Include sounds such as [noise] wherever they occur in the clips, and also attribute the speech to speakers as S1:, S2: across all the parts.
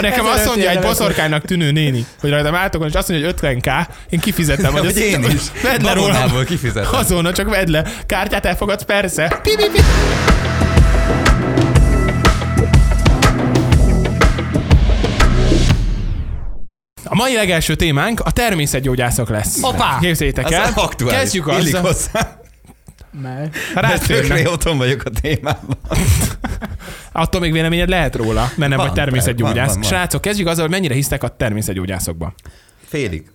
S1: Nekem azt mondja egy boszorkánynak tűnő néni, hogy rajtam átokon, és azt mondja, hogy 50k, én kifizettem,
S2: [laughs]
S1: hogy
S2: Hogy
S1: ezt
S2: én is.
S1: Vedd le rólam.
S2: Babonából kifizetem.
S1: Azonnal csak vedd le. Kártyát elfogadsz, persze. Pi, pi, pi. A mai legelső témánk a természetgyógyászok lesz.
S3: Hoppá!
S1: Képzétek el.
S2: Ez aktuális.
S1: Kezdjük
S2: Illik
S1: azzal.
S2: hozzá.
S3: Mert...
S1: Rátérnek.
S2: Tökre otthon vagyok a témában.
S1: Attól még véleményed lehet róla, mert nem
S2: Van,
S1: vagy természetgyógyász.
S2: van, van, van.
S1: Srácok, kezdjük azzal, hogy mennyire hisztek a természetgyógyászokba.
S2: Félig.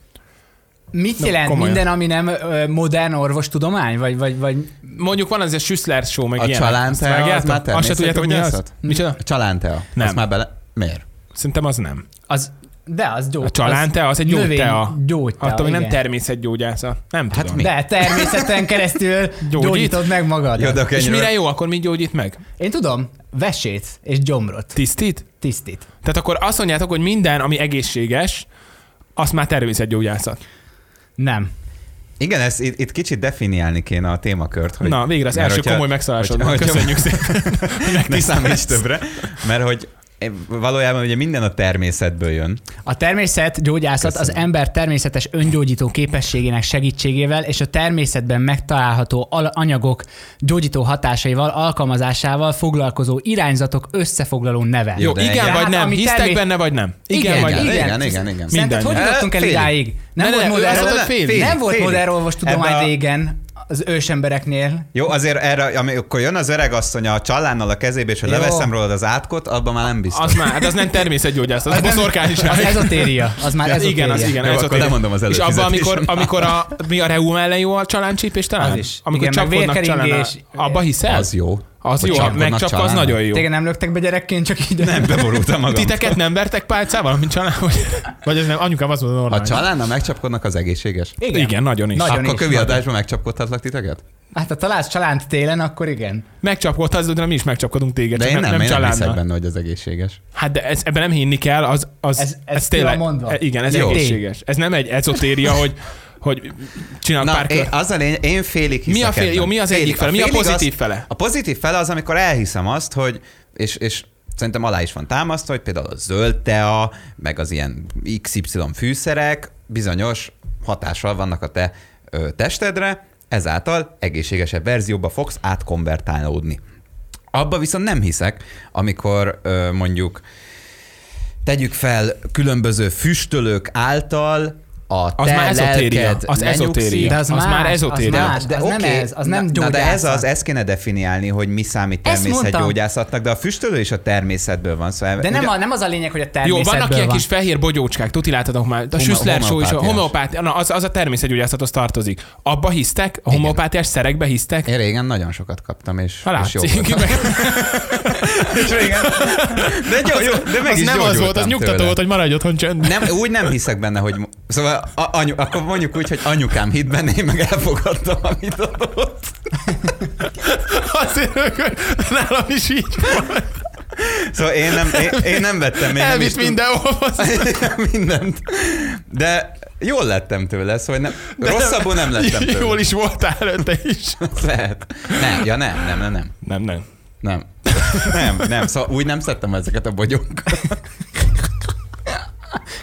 S3: Mit
S1: Na,
S3: jelent
S1: komolyan.
S3: minden, ami nem ö, modern orvostudomány? Vagy, vagy, vagy...
S1: Mondjuk van ez a Süssler show, meg
S2: A
S1: ilyenek. Azt
S2: csalántea az
S1: vágjátok?
S2: már
S1: Azt se tudjátok, mi az?
S2: természetgyógyászat?
S1: Micsoda?
S2: A csalántea.
S1: Nem.
S2: Azt már bele... Miért?
S1: Szerintem az nem.
S3: Az, de az gyógy.
S1: A csalántea, az egy gyógytea.
S3: Gyógytea,
S1: Attól még nem
S3: igen.
S1: természetgyógyásza. Nem
S2: Hát
S1: tudom.
S2: mi?
S3: De természeten keresztül
S1: [laughs] Gyógyít?
S3: gyógyítod meg magad.
S2: Jó, de akkor
S1: És
S2: ennyire-
S1: mire jó, akkor mi gyógyít meg?
S3: Én tudom, vesét és gyomrot,
S1: Tisztít?
S3: tisztít.
S1: Tehát akkor azt mondjátok, hogy minden, ami egészséges, azt már természetgyógyászat.
S3: Nem.
S2: Igen, ezt itt, itt kicsit definiálni kéne a témakört. Hogy
S1: Na, végre az
S2: mert
S1: első
S2: hogyha-
S1: komoly megszállásod.
S2: hogyha-
S1: Köszönjük szépen.
S2: [laughs] Ne számíts többre, mert hogy valójában ugye minden a természetből jön.
S3: A természetgyógyászat
S2: Köszönöm.
S3: az ember természetes öngyógyító képességének segítségével és a természetben megtalálható al- anyagok gyógyító hatásaival, alkalmazásával foglalkozó irányzatok összefoglaló neve.
S1: Jó,
S2: Jó, de engem-
S1: igen
S3: Hát,
S1: vagy nem?
S3: ami
S1: Hisztek
S3: termé-
S1: benne vagy nem? Igen
S3: Igen,
S1: vagy
S2: igen,
S1: nem?
S2: igen, igen, igen.
S1: Minden.
S3: Szerinted hogy jutottunk el
S2: Félig.
S3: idáig? Nem
S1: Ne,
S3: volt
S1: ne, ő
S3: modern,
S1: azt mondta, hogy félig.
S3: nem volt
S2: Félig.
S3: modern orvostudomány
S2: Ebbe a-
S3: régen az ősembereknél.
S2: Jó, azért erre, amikor jön az öreg asszony a csalánnal a kezébe, és ha
S3: Jó.
S2: leveszem rólad az átkot, abban már nem biztos.
S1: Az már, hát az nem természetgyógyászat,
S2: Hát
S1: az boszorkány is.
S3: Az ezotéria. Az már
S1: Ez igen,
S3: ezotéria.
S1: az igen.
S2: Jó,
S1: ez
S2: akkor
S1: ott ér.
S2: lemondom az
S1: És abban, amikor,
S2: előfizetésem.
S1: amikor a, mi a reum ellen jó a csaláncsípés talán?
S3: Az is.
S1: Amikor
S3: Igen,
S1: csak
S3: meg
S1: vannak csalán.
S3: vérkeringés.
S1: Abba hiszel?
S2: Az jó.
S1: Az
S2: Hogy
S1: jó,
S2: csapkodnak
S1: meg csak az
S2: csalánnak.
S1: nagyon jó.
S3: Téged nem löktek be gyerekként, csak így.
S2: Nem, beborultam magam.
S1: Titeket nem vertek pálcával, mint csalán? Vagy, vagy ez nem, anyukám azt mondta
S2: Ha
S1: normál.
S2: csalánnal megcsapkodnak, az egészséges.
S1: Igen. Igen, nagyon is.
S3: Nagyon.
S1: Nagyon.
S2: Akkor
S3: is,
S2: kövi adásban megcsapkodhatlak titeket?
S3: Hát ha találsz csalánt télen, akkor igen.
S1: Hát Megcsapkodtad, de mi is megcsapkodunk téged.
S2: De
S1: csak
S2: én nem,
S1: nem,
S2: én nem hiszek
S1: csalánnal.
S2: benne, hogy az egészséges.
S1: Hát de ez, ebben nem hinni kell, az, az
S3: Ez- ez ki
S1: tényleg,
S3: van mondva.
S1: e- igen, ez
S2: Jó.
S1: egészséges. Ez nem egy ezotéria, hogy, hogy csinál
S2: Na,
S1: pár
S2: én,
S1: kört.
S2: az a lény, én félig hiszek
S1: Mi a fél,
S2: ebben.
S1: jó, mi az egyik fele? Mi a
S2: félig
S1: pozitív
S2: az,
S1: fele?
S2: A pozitív fele az, amikor elhiszem azt, hogy, és, és szerintem alá is van támasztva, hogy például a zöld tea, meg az ilyen XY fűszerek bizonyos hatással vannak a te ö, testedre, ezáltal egészségesebb verzióba fogsz átkonvertálódni. Abba viszont nem hiszek, amikor ö, mondjuk tegyük fel különböző füstölők által a
S1: Az
S2: te
S1: már ezotéria,
S2: lelked
S1: az
S2: lenyugszik,
S1: ezotéria.
S3: De az,
S1: Az
S3: más,
S1: már ezotéria.
S3: Az, más, de az nem
S2: oké,
S3: ez, az nem
S2: na-
S3: gyógyászat.
S2: Na de ez az, ezt kéne definiálni, hogy mi számít
S3: Ezt
S2: természetgyógyászatnak, de a füstölő is a természetből van szó.
S3: de nem,
S2: Ugye-
S3: a, nem az a lényeg, hogy a
S1: Jó,
S3: természetből
S1: vannak ilyen
S3: van.
S1: kis fehér bogyócskák, tuti láthatok már. A
S2: Homo-
S1: Süssler show is, a
S2: homeopátiás.
S1: homeopátia, na, az, az a természetgyógyászathoz tartozik. Abba hisztek? A homeopátiás szerekbe hisztek?
S2: Én régen nagyon sokat kaptam, és,
S1: Ha
S2: és jó
S1: látszik, [laughs]
S2: voltam.
S1: meg,
S2: És régen. De, jó, jó, de meg
S1: az
S2: is
S1: nem az volt, az
S2: gyógyultam
S1: nyugtató
S2: tőle.
S1: volt, hogy maradj otthon csönd.
S2: Nem, úgy nem hiszek benne, hogy... Szóval a, anyu, akkor mondjuk úgy, hogy anyukám hitt benne, én meg elfogadtam, amit adott.
S1: [laughs] Azért, hogy nálam is így volt.
S2: Szóval én nem, én, én nem vettem még nem is
S1: Elvitt
S2: tud-
S1: mindenhova.
S2: [laughs] mindent. De jól lettem tőle, szóval nem, rosszabbul nem lettem tőle.
S1: [laughs] Jól is voltál előtte is.
S2: [laughs] Lehet. Nem, ja nem, nem, nem, nem.
S1: Nem, nem.
S2: Nem. Nem, nem. Szóval úgy nem szedtem ezeket a bogyókat.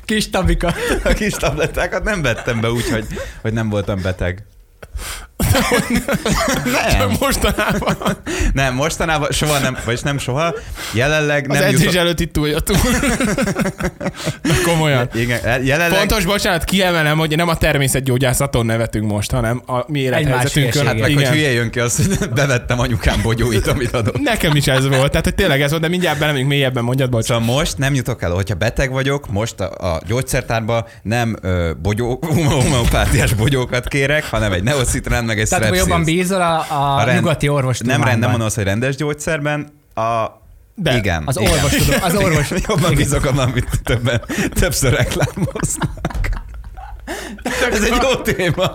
S3: kis tabika.
S2: A kis tablettákat nem vettem be úgy, hogy, hogy nem voltam beteg. Nem,
S1: Mostanában
S2: nem, mostanában soha nem, vagyis nem soha, jelenleg
S1: az
S2: nem
S1: edzés
S2: jutott.
S1: előtt itt
S2: [laughs]
S1: túljatunk. Na komolyan.
S2: Igen, jelenleg...
S1: Fontos, bocsánat, kiemelem, hogy nem a természetgyógyászaton nevetünk most, hanem a mi élethelyzetünkön.
S2: Hát meg, hogy hülye jön ki az, hogy bevettem anyukám bogyóit, amit adott.
S1: Nekem is ez volt, tehát hogy tényleg ez volt, de mindjárt belemegyünk mélyebben, mondjad, bocs.
S2: Szóval most nem jutok el, hogyha beteg vagyok, most a, a gyógyszertárban nem ö, bogyó, [laughs] homeopátiás bogyókat kérek, hanem egy neocitrán, meg egy
S3: Tehát akkor jobban
S2: strepsils.
S3: bízol a, a,
S2: A
S3: a nyugati orvostudományban.
S2: Nem rend, nem mondom azt, hogy rendes gyógyszerben, a...
S1: De,
S2: De, igen.
S3: Az
S2: [laughs] igen.
S3: orvostudom, az orvos.
S2: Igen, Jobban bízok abban, amit többen, többször reklámoznak. Ez egy jó téma.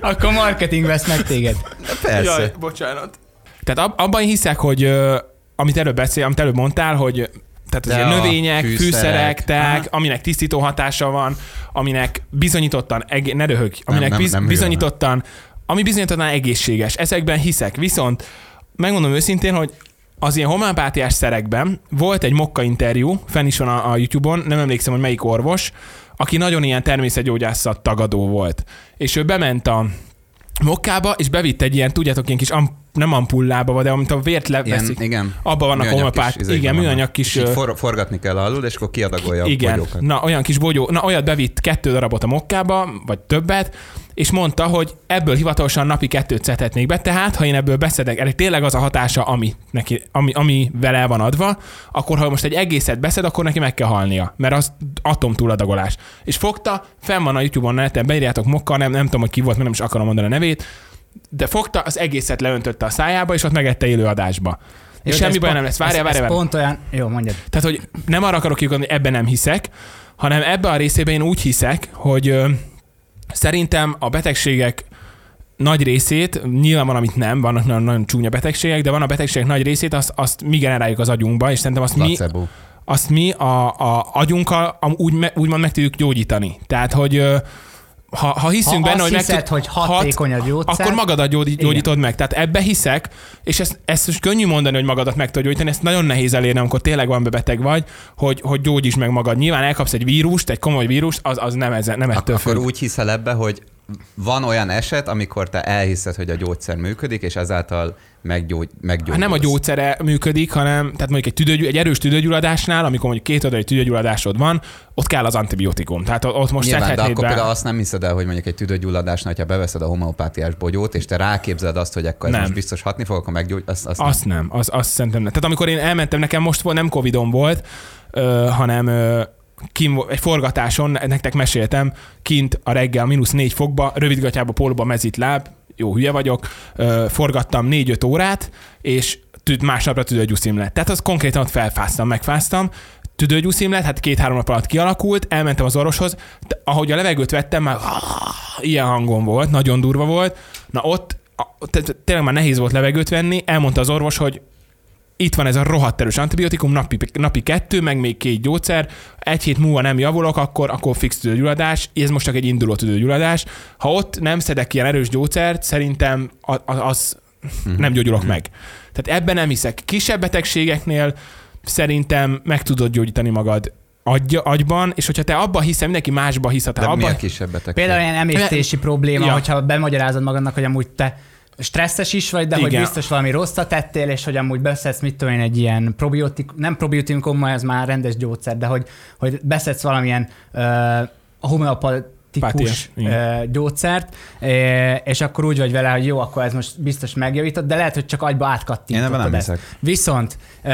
S3: Akkor marketing vesz meg téged.
S2: Persze. Jaj.
S1: bocsánat. Tehát ab, abban hiszek, hogy ö, amit előbb beszél, amit előbb mondtál, hogy tehát az
S2: De
S1: ilyen
S2: a
S1: növények,
S2: fűszerek.
S1: fűszerek, teák, aminek tisztító hatása van, aminek bizonyítottan, eg- ne röhög, aminek
S2: nem,
S1: biz,
S2: nem hülye
S1: bizonyítottan, ami bizonyítottan egészséges. Ezekben hiszek. Viszont megmondom őszintén, hogy az ilyen homeopátiás szerekben volt egy mokka interjú, fenn is van a, a YouTube-on, nem emlékszem, hogy melyik orvos, aki nagyon ilyen természetgyógyászat tagadó volt. És ő bement a mokkába, és bevitt egy ilyen, tudjátok, ilyen kis am, nem ampullába, de amit a vért leveszik.
S2: Ilyen, igen.
S1: Abban vannak
S2: Műanyag kis
S1: homopát,
S2: izékben
S1: igen,
S2: vannak.
S1: műanyag kis...
S2: És így
S1: ö,
S2: for, forgatni kell alul, és akkor kiadagolja
S1: igen,
S2: a bogyókat.
S1: na olyan kis bogyó, na olyat bevitt kettő darabot a mokkába, vagy többet, és mondta, hogy ebből hivatalosan napi kettőt szedhetnék be, tehát ha én ebből beszedek, ennek tényleg az a hatása, ami, neki, ami, ami vele van adva, akkor ha most egy egészet beszed, akkor neki meg kell halnia, mert az atom túladagolás. És fogta, fenn van a YouTube-on, neten, beírjátok mokka, nem, nem tudom, hogy ki volt, mert nem is akarom mondani a nevét, de fogta, az egészet leöntötte a szájába, és ott megette élőadásba.
S3: Jó,
S1: És
S3: de ez
S1: semmi baj
S3: pont-
S1: nem lesz. Várjál,
S3: ez- ez
S1: várjál, várjál.
S3: pont olyan... Jó, mondjad.
S1: Tehát, hogy nem arra akarok kiugodni, hogy ebben nem hiszek, hanem ebbe a részében én úgy hiszek, hogy ö, szerintem a betegségek nagy részét, nyilván van, amit nem, vannak nagyon, nagyon csúnya betegségek, de van a betegségek nagy részét, azt, azt mi generáljuk az agyunkba, és szerintem azt mi,
S2: Placebo.
S1: azt mi a, a agyunkkal am- úgy, me, úgymond meg tudjuk gyógyítani. Tehát, hogy ö, ha, ha hiszünk
S3: ha
S1: benne,
S3: azt
S1: hogy meg tud-
S3: hiszed, hogy hatékony a gyógyszer,
S1: akkor magadat gyógy, gyógyítod meg. Tehát ebbe hiszek, és ezt, ezt most könnyű mondani, hogy magadat meg tudod gyógyítani, ezt nagyon nehéz elérni, amikor tényleg van beteg vagy, hogy, hogy gyógyíts meg magad. Nyilván elkapsz egy vírust, egy komoly vírust, az, az nem, ezen, nem ettől
S2: Akkor
S1: függ.
S2: úgy hiszel ebbe, hogy van olyan eset, amikor te elhiszed, hogy a gyógyszer működik, és ezáltal meggyógy,
S1: Hát
S2: meggyógyulsz.
S1: nem a gyógyszere működik, hanem tehát mondjuk egy, tüdőgy, egy erős tüdőgyulladásnál, amikor mondjuk két oldalú tüdőgyulladásod van, ott kell az antibiotikum. Tehát ott most
S2: Nyilván, de
S1: szedhetnéd
S2: akkor
S1: be.
S2: például azt nem hiszed el, hogy mondjuk egy tüdőgyulladásnál, hogyha beveszed a homeopátiás bogyót, és te ráképzeled azt, hogy akkor ez
S1: Nem.
S2: most biztos hatni fog, akkor meggyógy, azt, azt, azt
S1: Azt nem, az, azt szerintem nem. Tehát amikor én elmentem, nekem most volt- nem Covidom volt, ö, hanem ö, kim, egy forgatáson, nektek meséltem, kint a reggel mínusz négy fokba, rövidgatjába pólóba mezít láb, jó hülye vagyok, ö, forgattam négy-öt órát, és tüd, másnapra tüdőgyuszim lett. Tehát az konkrétan ott felfáztam, megfáztam, tüdőgyuszim lett, hát két-három nap alatt kialakult, elmentem az orvoshoz, de ahogy a levegőt vettem, már ilyen hangon volt, nagyon durva volt. Na ott a, te- te- tényleg már nehéz volt levegőt venni, elmondta az orvos, hogy itt van ez a rohadt erős antibiotikum, napi, napi kettő, meg még két gyógyszer, egy hét múlva nem javulok, akkor, akkor fix tüdőgyulladás, ez most csak egy induló tüdőgyulladás. Ha ott nem szedek ilyen erős gyógyszert, szerintem a- a- az nem gyógyulok meg. Tehát ebben nem hiszek. Kisebb betegségeknél szerintem meg tudod gyógyítani magad agy, agyban, és hogyha te abba hiszel, mindenki másba hisz, ha te
S2: de
S1: abba...
S2: mi a Hát kisebb beteg?
S3: Például ilyen emésztési probléma,
S1: Ja.
S3: ja. hogyha bemagyarázod magadnak, hogy amúgy te stresszes is vagy, de Igen. hogy
S1: Igen.
S3: biztos valami rosszat tettél, és hogy amúgy beszedsz, mit tudom én, egy ilyen probiotik, nem probiotikum, mert ez már rendes gyógyszer, de hogy, hogy beszedsz valamilyen ö,
S1: Pátiás,
S3: homeopatikus
S1: igen.
S3: ö, gyógyszert, ö, és akkor úgy vagy vele, hogy jó, akkor ez most biztos megjavított, de lehet, hogy csak agyba
S2: Én ebben nem
S3: átkattintottad ezt.
S2: hiszek.
S3: Viszont ö,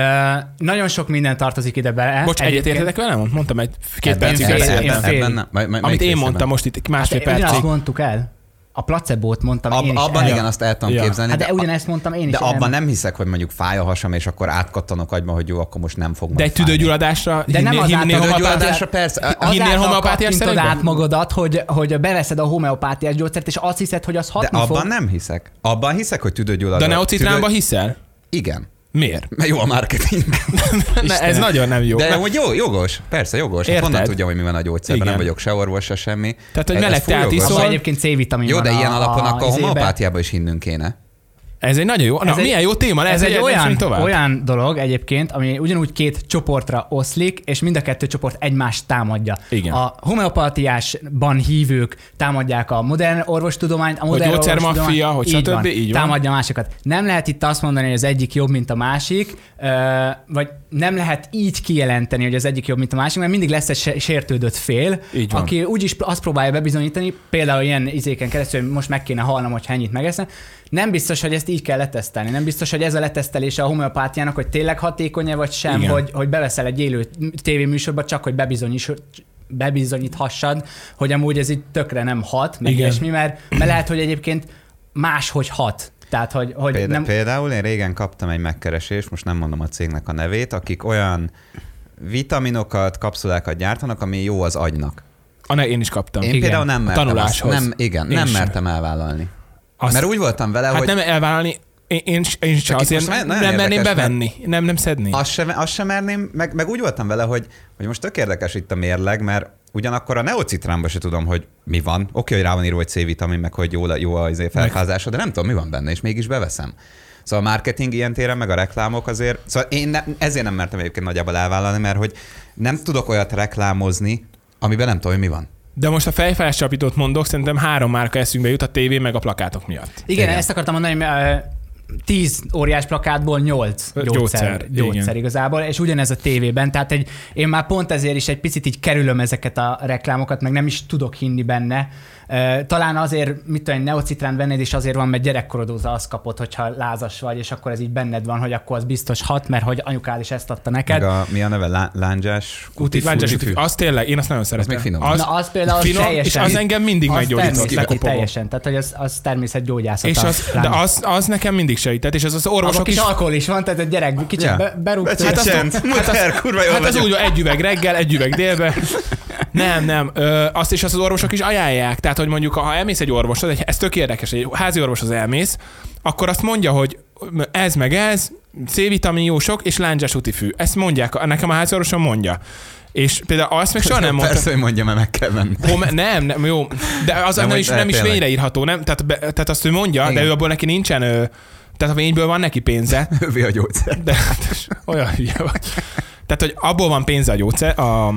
S3: nagyon sok minden tartozik ide bele.
S1: Bocs, egyetértetek velem? Mondtam egy két
S2: Ebben-
S1: percig.
S3: fél-
S2: ebben-
S1: beszéltem.
S3: én
S2: ebben-
S3: fél.
S2: ebben nem. Mely- mely-
S1: Amit
S2: melyik
S1: én
S2: részében?
S1: mondtam most itt másfél
S3: Hát, ugyanazt
S1: percig.
S3: mondtuk el. A placebót mondtam
S2: Ab,
S3: én is
S2: abban
S3: el.
S2: igen, azt el tudom
S1: Ja.
S2: képzelni.
S3: Hát de,
S2: de-
S3: ugyanezt mondtam én is.
S2: De
S3: el.
S2: abban nem hiszek, hogy mondjuk fáj a hasam, és akkor átkattanok agyban, hogy jó, akkor most nem fog
S1: De egy tüdőgyulladásra
S3: De nem
S1: hinnél-
S3: az
S1: hinnél
S3: által-
S1: homeopátiás-
S2: Tüdőgyulladásra persze.
S1: Az- Hinnél
S3: Azáltal
S1: homeopátiás
S3: kattintod
S1: szerekben?
S3: át magadat, hogy, hogy beveszed a homeopátiás gyógyszert, és azt hiszed, hogy az
S2: De
S3: hatni fog.
S2: abban nem hiszek. Abban hiszek, hogy
S1: De
S2: tüdőgyulladás.
S1: a neocitránba
S2: tüdő-
S1: hiszel?
S2: Igen.
S1: Miért?
S2: Mert jó a marketing.
S1: Ne, ez nagyon nem jó.
S2: Jó, de
S1: Nem.
S2: hogy jó, jogos, persze jogos. Hát
S1: Érted?
S2: honnan tudjam, hogy mi van a gyógyszerben,
S1: Igen.
S2: nem vagyok se orvos, se semmi.
S1: Tehát, hogy
S2: Ez- ez
S1: meleg
S2: full
S1: teát
S2: jogos.
S1: iszol.
S3: Szóval
S1: Szóval-
S3: egyébként C-vitamin
S2: Jó,
S3: van
S2: de ilyen alapon akkor a
S3: izébe.
S2: homeopátiába is hinnünk kéne.
S1: Ez egy nagyon jó. Na,
S3: Ez egy-
S1: milyen jó téma lesz.
S3: Ez egy
S1: hogy
S3: olyan,
S1: eljussunk tovább.
S3: olyan dolog egyébként, ami ugyanúgy két csoportra oszlik, és mind a kettő csoport egymást támadja.
S1: Igen.
S3: A homeopátiásban hívők támadják a modern orvostudományt, a modern
S1: gyógyszermaffia,
S3: orvostudomány-
S1: hogy
S3: így
S1: stb.
S3: Van,
S1: így van.
S3: támadja a másikat. Nem lehet itt azt mondani, hogy az egyik jobb, mint a másik, ö, vagy nem lehet így kijelenteni, hogy az egyik jobb, mint a másik, mert mindig lesz egy se- sértődött fél,
S1: Így van.
S3: aki úgyis pr- azt próbálja bebizonyítani, például ilyen izéken keresztül, hogy most meg kéne halnom, hogy ennyit megeszem. Nem biztos, hogy ezt így kell letesztelni. Nem biztos, hogy ez a letesztelése a homeopátiának, hogy tényleg hatékony-e vagy sem,
S1: Igen.
S3: hogy, hogy beveszel egy élő tévéműsorba, csak hogy bebizonyíts, bebizonyíthassad, hogy amúgy ez így tökre nem hat, meg
S1: Igen.
S3: ilyesmi, mert, mert lehet, hogy egyébként máshogy hat. Tehát, hogy, hogy
S2: Példa,
S3: nem,
S2: Például én régen kaptam egy megkeresést, most nem mondom a cégnek a nevét, akik olyan vitaminokat, kapszulákat gyártanak, ami jó az agynak.
S1: A Ah, ne, én is kaptam.
S2: Én
S1: Igen.
S2: igen, például nem
S1: A
S2: mertem.
S1: tanuláshoz.
S2: Azt, nem, igen,
S1: Én
S2: nem
S1: sem.
S2: mertem elvállalni.
S1: Azt-
S2: Azt, mert úgy voltam vele,
S1: Hát
S2: hogy
S1: nem elvállalni, én, én, én se
S2: Csak itt
S1: azért
S2: most
S1: nem,
S2: nagyon
S1: nem merném
S2: érdekes,
S1: bevenni, nem, nem szedni.
S2: Azt sem, azt sem merném, meg, meg úgy voltam vele, hogy, hogy most tök érdekes itt a mérleg, mert ugyanakkor a neocitránban se tudom, hogy mi van. Oké, hogy rá van írva, hogy C-vitamin, meg hogy jó, jó a izé felházása, de nem tudom, mi van benne, és mégis beveszem. Szóval a marketing ilyen téren, meg a reklámok azért, szóval én ne, ezért nem mertem egyébként nagyjából elvállalni, mert hogy nem tudok olyat reklámozni, amiben nem tudom, hogy mi van.
S1: De most a fejfájás csapítót mondok, szerintem három márka eszünkbe jut a tévé meg a plakátok miatt.
S3: Igen,
S2: Igen.
S3: Igen, ezt akartam mondani, mert ö, 10 óriás plakátból 8
S1: Ö,
S3: gyógyszer,
S1: gyógyszer,
S3: gyógyszer,
S1: igen.
S3: gyógyszer igazából, és ugyanez a tévében, tehát egy, én már pont ezért is egy picit így kerülöm ezeket a reklámokat, meg nem is tudok hinni benne. Ö, Talán azért, mit tudom, egy neocitrán vennéd, és azért van, mert gyerekkorod óta azt kapod, hogyha lázas vagy, és akkor ez így benned van, hogy akkor az biztos hat, mert hogy anyukád is ezt adta neked.
S2: Meg a, mi a neve? Lá, lángyás?
S1: Úti, lángyás,
S2: fű.
S1: úti, az tényleg, én azt nagyon szeretem.
S2: még finom.
S1: Az,
S3: Na, az például
S1: finom,
S3: teljesen...
S1: és az engem mindig
S3: az
S1: meggyógyított,
S3: természeti,
S1: lekopogom.
S3: teljesen, tehát hogy az, az természetgyógyászat.
S1: És
S3: a
S1: az, de
S3: láng-
S1: az, az nekem mindig segített, és ez az orvosok
S3: Abban
S1: is...
S3: kis alkohol is van, tehát a gyerek kicsit
S2: Ja.
S3: yeah. berúgta.
S1: Hát
S2: Hát
S1: azt-
S2: az,
S1: hát azt-
S2: hát kurva jól
S1: Hát az
S2: vagyok.
S1: úgy, hogy egy üveg reggel, egy üveg délben. Nem, nem. Ö, azt is azt az orvosok is ajánlják. Tehát, hogy mondjuk, ha elmész egy orvoshoz, egy, ez tök érdekes, egy házi orvoshoz elmész, akkor azt mondja, hogy ez meg ez, C-vitamin jó sok, és lángyás útifű. Ezt mondják, nekem a házi orvosom mondja. És például azt meg soha nem mondta.
S2: Persze, hogy mondjam, mert meg kell menni.
S1: Home, nem, nem, jó. De az nem,
S2: Nem,
S1: nem
S2: hogy
S1: is,
S2: de
S1: nem is
S2: tényleg.
S1: fényreírható, nem? Tehát, be, tehát azt ő mondja, Igen. de
S2: Igen.
S1: ő abból neki nincsen, ö, tehát a fényből van neki pénze,
S2: Övé a gyógyszer.
S1: de hát olyan hülye vagy. Tehát, hogy abból van pénze a gyógyszer, a,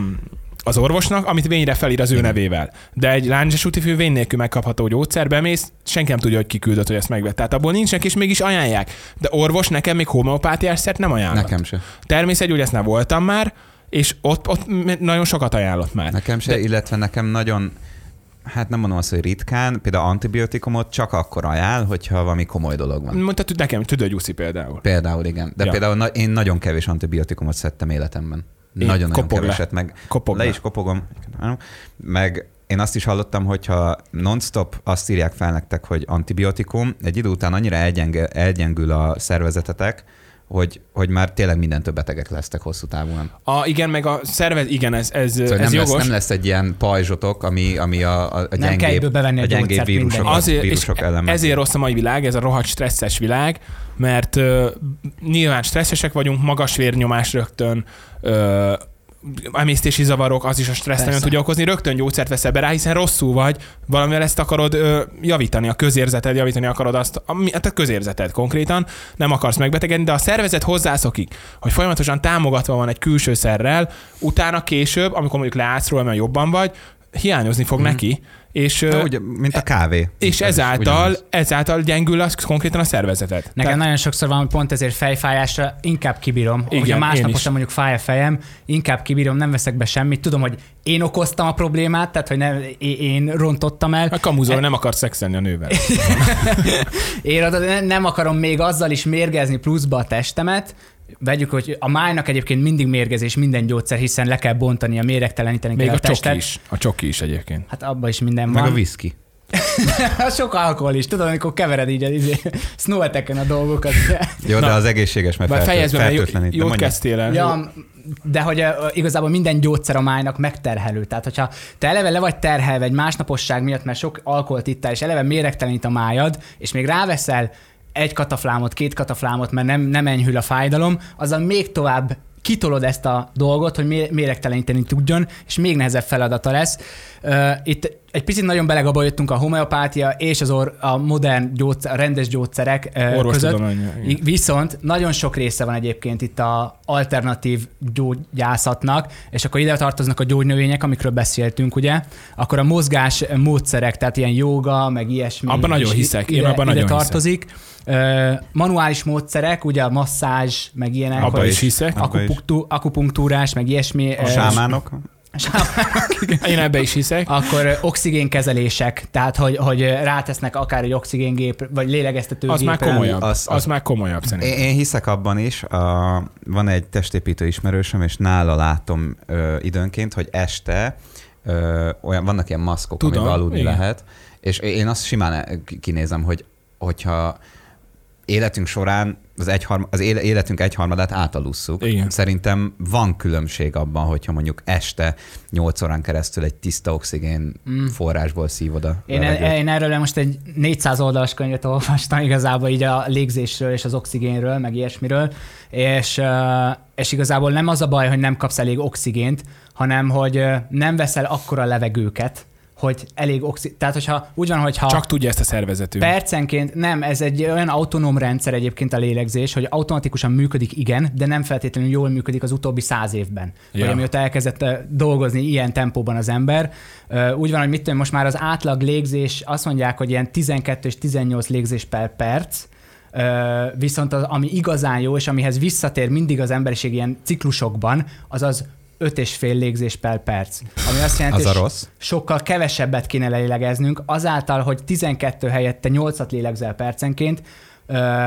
S1: az orvosnak, amit vényre felír az ő
S2: Mhm.
S1: nevével. De egy lándzses útifű vény nélkül megkapható gyógyszer, bemész, senki nem tudja, hogy ki küldött, hogy ezt megvett. Tehát abból nincsenek, és mégis ajánlják. De orvos nekem még homeopátiás szert nem ajánlott.
S2: Nekem se.
S1: Természetgyógyásznál voltam már, és ott, ott m- nagyon sokat ajánlott már.
S2: Nekem se,
S1: De-
S2: de... illetve nekem nagyon, hát nem mondom azt, hogy ritkán, például antibiotikumot csak akkor ajánl, hogyha valami komoly dolog van.
S1: Mondta tud nekem, tüdőgyúszi például.
S2: Például igen.
S1: Ja.
S2: De ja. például na- én nagyon kevés antibiotikumot szedtem életemben.
S1: Én
S2: Nagyon-nagyon
S1: kopog le.
S2: keveset, meg
S1: Kopog
S2: le is kopogom. Meg én azt is hallottam, hogyha non-stop azt írják fel nektek, hogy antibiotikum, egy idő után annyira elgyenge, elgyengül a szervezetetek, hogy, hogy már tényleg mindentől betegek lesztek hosszú távon.
S1: A, igen, meg a szervez, igen, ez, ez,
S2: Szóval
S1: ez
S2: nem,
S1: jogos.
S2: lesz, nem lesz egy ilyen pajzsotok, ami, ami a, a, a
S3: kell
S2: gyengébb,
S3: egyből bevenni a
S2: gyengébb
S3: gyógyszert, mindegy.
S2: vírusokat,
S1: Azért,
S2: vírusok
S1: és e-
S2: ellen.
S1: ezért rossz a mai világ, ez a rohadt stresszes világ, mert ö, nyilván stresszesek vagyunk, magas vérnyomás rögtön, ö, emésztési zavarok, az is a stressz
S3: Persze.
S1: nagyon tudja okozni, rögtön gyógyszert veszel be rá, hiszen rosszul vagy, valamivel ezt akarod ö, javítani, a közérzeted, javítani akarod azt, ami, hát a közérzeted konkrétan, nem akarsz megbetegedni, de a szervezet hozzászokik, hogy folyamatosan támogatva van egy külső szerrel, utána később, amikor mondjuk leállsz róla, mert jobban vagy, hiányozni fog
S2: Mhm.
S1: neki, és ö,
S2: De ugye, mint a kávé.
S1: és
S2: Ez is
S1: ezáltal,
S2: ugyanaz.
S1: ezáltal gyengül az konkrétan a szervezeted.
S3: Nekem
S1: Tehát-
S3: nagyon sokszor van, hogy pont ezért fejfájásra inkább kibírom.
S1: Igen,
S3: Igen, Ugye
S1: én is.
S3: másnaposan mondjuk fáj a fejem, inkább kibírom, nem veszek be semmit. Tudom, hogy én okoztam a problémát, tehát hogy nem, é- én rontottam el.
S1: a kamuzol nem akar szexelni a [laughs] nővel.
S3: Én oda ne- nem akarom még azzal is mérgezni pluszba a testemet. Vegyük, hogy a májnak egyébként mindig mérgezés minden gyógyszer, hiszen le kell bontani, a méregteleníteni
S1: Még
S3: kell
S1: a
S3: a
S1: csoki
S3: testet.
S1: is. A csoki is egyébként.
S3: Hát abban is minden
S2: Meg
S3: van.
S2: a viszki.
S3: [laughs] Sok alkohol is, tudod, amikor kevered így, így [laughs] snoweteken a dolgokat.
S2: Jó,
S1: Na.
S2: de az egészséges, mert
S1: Bár fejezd
S2: fertő-
S1: be, mert jó-
S2: fertőtlenít. De
S1: jót
S2: mondjad.
S1: kezdtél el.
S3: ja, de hogy ö, ö, igazából minden gyógyszer a májnak megterhelő. Tehát, hogyha te eleve le vagy terhelve egy másnaposság miatt, mert sok alkoholt ittál, és eleve méregtelenít a májad, és még ráveszel egy kataflámot, két kataflámot, mert nem, nem enyhül a fájdalom, azzal még tovább kitolod ezt a dolgot, hogy mé- méregteleníteni tudjon, és még nehezebb feladata lesz. Ö, Itt egy picit nagyon belegabajottunk a homeopátia és az or- a modern gyógyszer, a rendes gyógyszerek ö, között.
S1: Orvostudomány. igen.
S3: I- Viszont nagyon sok része van egyébként itt a alternatív gyógyászatnak, és akkor ide tartoznak a gyógynövények, amikről beszéltünk, ugye? Akkor a mozgás módszerek, tehát ilyen joga, meg ilyesmi.
S1: Abban nagyon
S3: is
S1: hiszek, én
S3: ide,
S1: abban
S3: ide
S1: nagyon hiszek.
S3: tartozik. Ö, manuális módszerek, ugye a masszázs, meg ilyenek,
S1: Abba
S3: hogy
S1: is hiszek.
S2: abba is.
S3: akupunktú- akupunktúrás, meg ilyesmi.
S2: A
S3: Ö,
S2: sámánok.
S3: sámán- [laughs]
S1: [laughs] Én ebbe is hiszek.
S3: Akkor ö, oxigénkezelések, tehát hogy, hogy rátesznek akár egy oxigéngép, vagy lélegeztetőgép.
S1: Az már komolyabb. Az,
S2: Az-
S1: az,
S2: az-
S1: már komolyabb szerintem.
S2: Én, én hiszek abban is, a, van egy testépítő ismerősöm, és nála látom ö, időnként, hogy este ö, olyan, vannak ilyen maszkok,
S1: Tudom,
S2: Tudom, amiben aludni
S1: igen.
S2: igen. lehet, és én azt simán el- ki- kinézem, hogy hogyha életünk során az, egyharm, az éle- életünk egyharmadát átalusszuk.
S1: Igen.
S2: Szerintem van különbség abban, hogyha mondjuk este 8 órán keresztül egy tiszta oxigén mm. forrásból szívod a
S3: Én, e-
S2: levegőt.
S3: én erről most egy 400 oldalas könyvet olvastam igazából így a légzésről és az oxigénről, meg ilyesmiről, és, ö, és igazából nem az a baj, hogy nem kapsz elég oxigént, hanem hogy ö, nem veszel akkora levegőket, hogy elég oxi... Tehát, hogyha úgy van, hogyha...
S1: Csak tudja ezt a szervezetünk.
S3: Percenként nem, ez egy olyan autonóm rendszer egyébként a lélegzés, hogy automatikusan működik, igen, de nem feltétlenül jól működik az utóbbi száz évben. Ja.
S1: Ja.
S3: Vagy amióta elkezdett ö, dolgozni ilyen tempóban az ember. Ö, Úgy van, hogy mit tudom, most már az átlag légzés, azt mondják, hogy ilyen 12 és 18 légzés per perc, Ö, viszont az, ami igazán jó, és amihez visszatér mindig az emberiség ilyen ciklusokban, az az öt és fél légzés per perc. Ami azt jelenti,
S2: Az a
S3: hogy
S2: rossz.
S3: sokkal kevesebbet kéne lélegeznünk, azáltal, hogy 12 helyette 8-at lélegzel percenként, ö,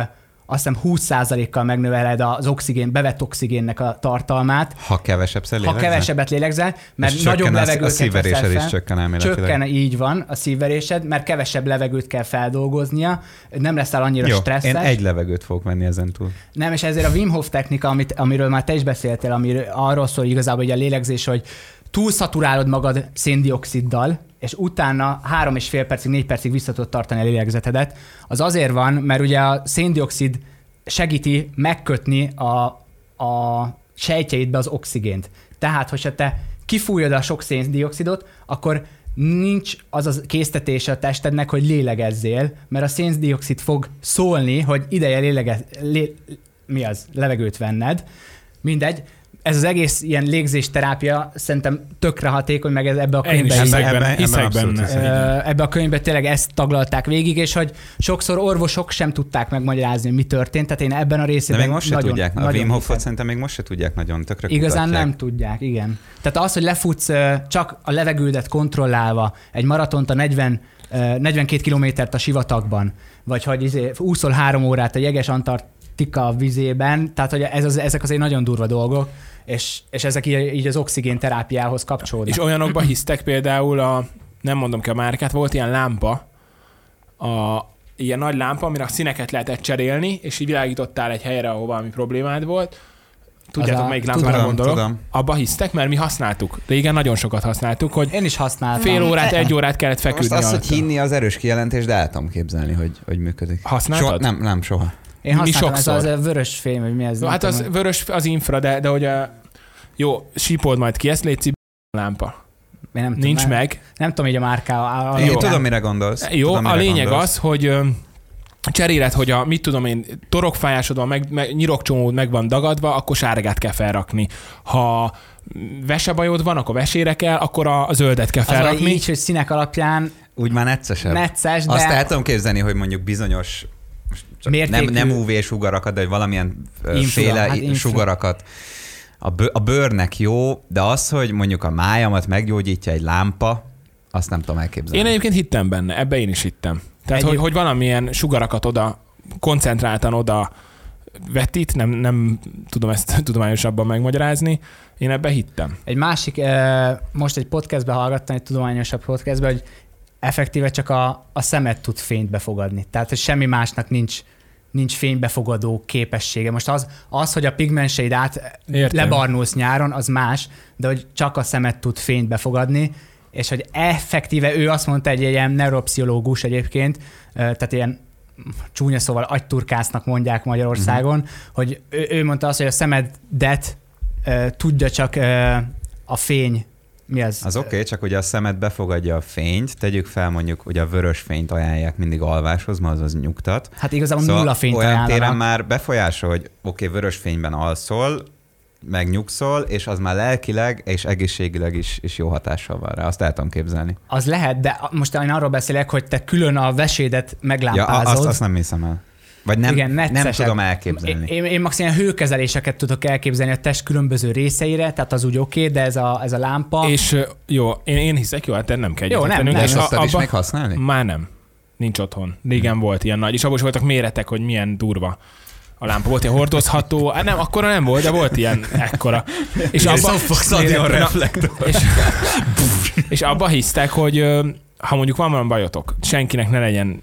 S3: azt hiszem 20%-kal megnöveled az oxigén, bevett oxigénnek a tartalmát,
S2: Ha kevesebb
S3: ha
S2: lélegzel?
S3: kevesebbet lélegzel, mert
S2: És
S3: nagyobb
S2: csökken a- a
S3: levegőket
S2: szívverésed
S3: veszel
S2: is
S3: fel.
S2: csökken elméletileg.
S3: Csökken, így van, a szívverésed, mert kevesebb levegőt kell feldolgoznia, nem leszel annyira
S2: Jó,
S3: stresszes.
S2: én egy levegőt fogok venni ezen túl.
S3: Nem, és ezért a Wim Hof technika, amit, amiről már te is beszéltél, ami arról szól igazából, hogy a lélegzés, hogy túlszaturálod magad széndioksziddal, és utána három és fél percig, négy percig vissza tudod tartani a lélegzetedet. Az azért van, mert ugye a széndiokszid segíti megkötni a, a sejtjeidbe az oxigént. Tehát, hogyha te kifújod a sok széndiokszidot, akkor nincs az a késztetése a testednek, hogy lélegezzél, mert a széndiokszid fog szólni, hogy ideje lélegez, lé, mi az, levegőt venned. Mindegy, ez az egész ilyen légzésterápia szerintem tökre hatékony, meg ez ebbe a
S1: Én is
S3: könyvbe
S1: hiszek
S2: Ebben-
S1: benne.
S2: ebben
S1: Hiszek
S2: abszolút
S1: benne.
S2: hiszek.
S3: Ö, ebbe a könyvbe tényleg ezt taglalták végig, és hogy sokszor orvosok sem tudták megmagyarázni, hogy mi történt, tehát én ebben a
S2: De
S3: részében
S2: még most se
S3: nagyon,
S2: tudják. A
S3: nagyon
S2: Wim Hofot
S3: hiszek.
S2: szerintem még most se tudják nagyon, tökre
S3: Igazán
S2: kutatják.
S3: nem tudják, igen. Tehát az, hogy lefutsz ö, csak a levegődet kontrollálva egy maratont a 40, ö, 42 kilométert a sivatagban, vagy hogy izé, úszol három órát a jeges Antarktika vizében, tehát hogy ez az, ezek azért nagyon durva dolgok, és, és ezek így, így az oxigénterápiához kapcsolódnak.
S1: És olyanokba hisztek például a, nem mondom ki a márkát, volt ilyen lámpa, a, ilyen nagy lámpa, amire a színeket lehetett cserélni, és így világítottál egy helyre, ahol valami problémád volt. Tudjátok,
S3: a-
S1: melyik
S3: tudom,
S1: lámpára gondolok?
S2: tudom.
S1: Abba hisztek, mert mi használtuk. Régen nagyon sokat használtuk, hogy
S3: Én is használtam.
S1: fél órát, egy órát kellett feküdni
S2: Most azt, hogy
S1: alatta.
S2: hinni az erős kijelentés, de el tudom képzelni, hogy, hogy működik.
S1: Használtad?
S2: Soha, nem, nem, soha.
S3: Én
S1: Mi
S3: használtam, ez az
S1: sokszor?
S3: a vörös fém, vagy mi ez?
S1: No,
S3: nem
S1: hát
S3: tudom,
S1: az
S3: hogy-
S1: vörös az infra, de, de hogy a, jó, sípold majd ki, ezt létszik lámpa.
S3: Én nem tudom,
S1: Nincs
S3: nem-
S1: meg.
S3: Nem tudom, így a márká. a-
S2: Én
S1: Jó.
S2: tudom, mire gondolsz.
S1: Jó,
S2: tudom,
S1: a
S2: mire
S1: lényeg
S2: gondolsz.
S1: az, hogy ö, cseréled, hogy a, mit tudom én, torokfájásod van, meg, meg nyirokcsomód meg van dagadva, akkor sárgát kell felrakni. Ha vesebajod van, akkor vesére kell, akkor a, a zöldet kell
S3: Az vagy
S1: felrakni.
S3: így, hogy színek alapján
S2: Úgy már neccesebb.
S3: necces, de...
S2: Azt el tudom képzelni, hogy mondjuk bizonyos most csak
S3: Mértékű-
S2: nem, nem UV sugarakat, de hogy valamilyen
S3: Infra,
S2: infra, féle
S3: hát
S2: hát
S3: infra.
S2: sugarakat. A, bő, a bőrnek jó, de az, hogy mondjuk a májamat meggyógyítja egy lámpa, azt nem tudom elképzelni.
S1: Én egyébként hittem benne, ebbe én is hittem. Tehát, hogy,
S3: Egyéb-
S1: hogy valamilyen sugarakat oda, koncentráltan oda vetít, nem, nem tudom ezt [laughs] tudományosabban megmagyarázni, én ebbe hittem.
S3: Egy másik, ö, most egy podcastbe hallgattam, egy tudományosabb podcastbe, hogy effektíve csak a, a szemed tud fényt befogadni. Tehát, hogy semmi másnak nincs nincs fénybefogadó képessége. Most az, az hogy a pigmenseid át
S1: Értem.
S3: lebarnulsz nyáron, az más, de hogy csak a szemed tud fényt befogadni, és hogy effektíve ő azt mondta, egy ilyen neuropszichológus egyébként, ö, tehát ilyen csúnya szóval agyturkásznak mondják Magyarországon, hogy ő, ő mondta azt, hogy a szemedet ö, tudja csak ö, a fény, mi az?
S2: Az oké, okay, csak ugye a szemed befogadja a fényt, tegyük fel mondjuk, hogy a vörös fényt ajánlják mindig alváshoz, mert az az nyugtat.
S3: Hát igazából szóval nulla fényt
S2: olyan téren
S3: ajánlanak.
S2: már befolyásol, hogy oké, okay, vörös fényben alszol, megnyugszol, és az már lelkileg és egészségileg is, is jó hatással van rá. Azt el tudom képzelni.
S3: Az lehet, de a- most én arról beszélek, hogy te külön a vesédet
S2: Ja, a-
S3: meglámpázod.
S2: azt, azt nem hiszem el. Vagy nem,
S3: Igen,
S2: Igen, nem
S3: neccesebb.
S2: tudom elképzelni.
S3: Én, én, én maximum ilyen hőkezeléseket tudok elképzelni a test különböző részeire, tehát az úgy oké, okay, de ez a, ez a lámpa.
S1: És ö, jó, én, én hiszek, jó, hát te nem kell
S3: Jó, nem,
S1: egyetetlenünk,
S3: nem.
S1: és
S2: És
S1: a-
S2: azt is
S1: abba-
S2: még használni?
S1: Már nem. Nincs otthon. Régen hmm. volt ilyen nagy, és abban is voltak méretek, hogy milyen durva a lámpa. Volt ilyen hordozható, hát nem, akkora nem volt, de volt ilyen ekkora. És abba,
S2: Stadion reflektor.
S1: és, és abba hisztek, hogy ö, ha mondjuk van valami bajotok, senkinek ne legyen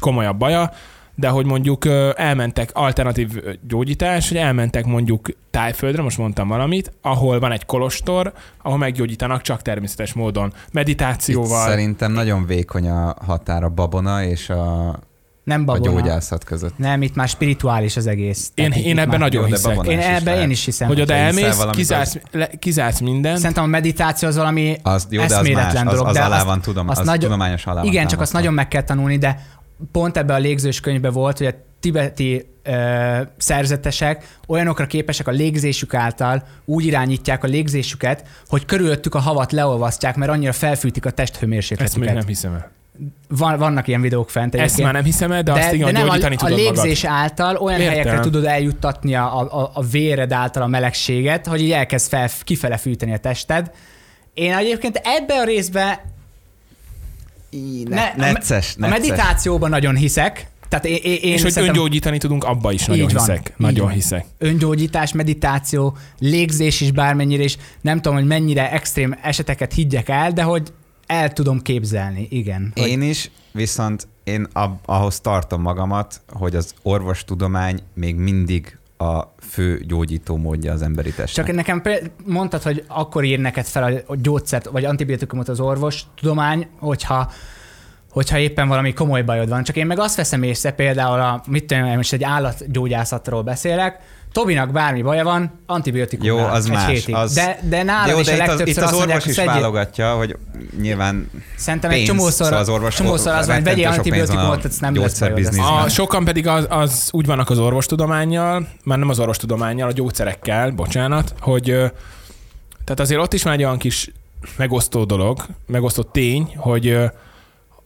S1: komolyabb baja, de hogy mondjuk ö, elmentek alternatív ö, gyógyítás, hogy elmentek mondjuk tájföldre, most mondtam valamit, ahol van egy kolostor, ahol meggyógyítanak csak természetes módon,
S2: Itt
S1: meditációval.
S2: szerintem nagyon vékony a határ a babona és a
S3: nem
S2: a
S3: babona.
S2: gyógyászat között.
S3: Nem, itt már spirituális az egész.
S1: Én,
S3: Tehát
S1: én
S3: itt
S1: ebben
S3: már-
S1: nagyon
S2: Jó, de
S1: hiszek.
S2: babonás
S1: Én,
S3: Én
S2: is
S3: ebben
S2: lehet.
S3: én is hiszem.
S1: hogy oda
S2: Te hiszel
S1: elmész,
S2: valamiből?
S1: kizársz, le, kizársz mindent.
S3: Szerintem a meditáció az valami
S2: Az, jó, de az más,
S3: eszméletlen
S2: az,
S3: dolog.
S2: az
S3: de
S2: alá
S3: azt-
S2: van, tudom, az tudományos alá van
S3: Igen, csak azt
S2: támasztva.
S3: nagyon meg kell tanulni, de pont ebbe a légzős könyvbe volt, hogy a tibeti ö, szerzetesek olyanokra képesek a légzésük által, úgy irányítják a légzésüket, hogy körülöttük a havat leolvasztják, mert annyira felfűtik a
S1: Ezt még
S3: testhőmérsékletüket.
S1: nem hiszem el.
S3: Van, vannak ilyen videók fent
S1: Ezt már nem hiszem el, de, de azt igen,
S3: nem,
S1: gyógyítani
S3: a, a
S1: tudod magad.
S3: légzés által olyan
S1: Értem.
S3: helyekre tudod eljuttatni a, a, a véred által a melegséget, hogy így elkezd fel, kifele fűteni a tested. Én egyébként ebbe a részbe
S2: Ne, necces,
S3: a
S2: necces.
S3: meditációban nagyon hiszek, tehát én, én, én
S1: És hogy
S3: szerintem
S1: öngyógyítani tudunk, abba is nagyon
S3: Így van,
S1: hiszek.
S3: így
S1: Nagyon
S3: van.
S1: hiszek.
S3: öngyógyítás, meditáció, légzés is bármennyire, és nem tudom, hogy mennyire extrém eseteket higgyek el, de hogy el tudom képzelni, igen. Hogy
S2: Én is, viszont én ab, ahhoz tartom magamat, hogy az orvostudomány még mindig a fő gyógyító módja az emberi testnek.
S3: Csak nekem például mondtad, hogy akkor ír neked fel a gyógyszert, vagy antibiotikumot az orvos tudomány, hogyha hogyha éppen valami komoly bajod van. Csak én meg azt veszem észre, például a, mit tudom, én, most egy állatgyógyászatról beszélek, Tobinak bármi baja van, antibiotikum
S2: Jó,
S3: nál
S2: az
S3: egy
S2: más,
S3: Hétig.
S2: az-
S3: De, de nálam
S2: Jó,
S3: is a
S2: de itt az,
S3: legtöbbször
S2: itt az
S3: azt mondják,
S2: orvos
S3: hogy
S2: is
S3: szedjél-
S2: válogatja, hogy nyilván
S3: Szerintem egy
S2: pénz,
S3: csomószor,
S2: szóval az orvos
S3: csomószor az van, hogy vegyél
S2: rettentő sok pénz van a
S3: antibiotikumot, ez nem lesz bajod.
S2: gyógyszerbizniszben.
S3: ezt-
S1: A, sokan pedig az, az úgy vannak az orvostudományjal, már nem az orvostudományjal, a gyógyszerekkel, bocsánat, hogy ö, tehát azért ott is van egy olyan kis megosztó dolog, megosztó tény, hogy ö,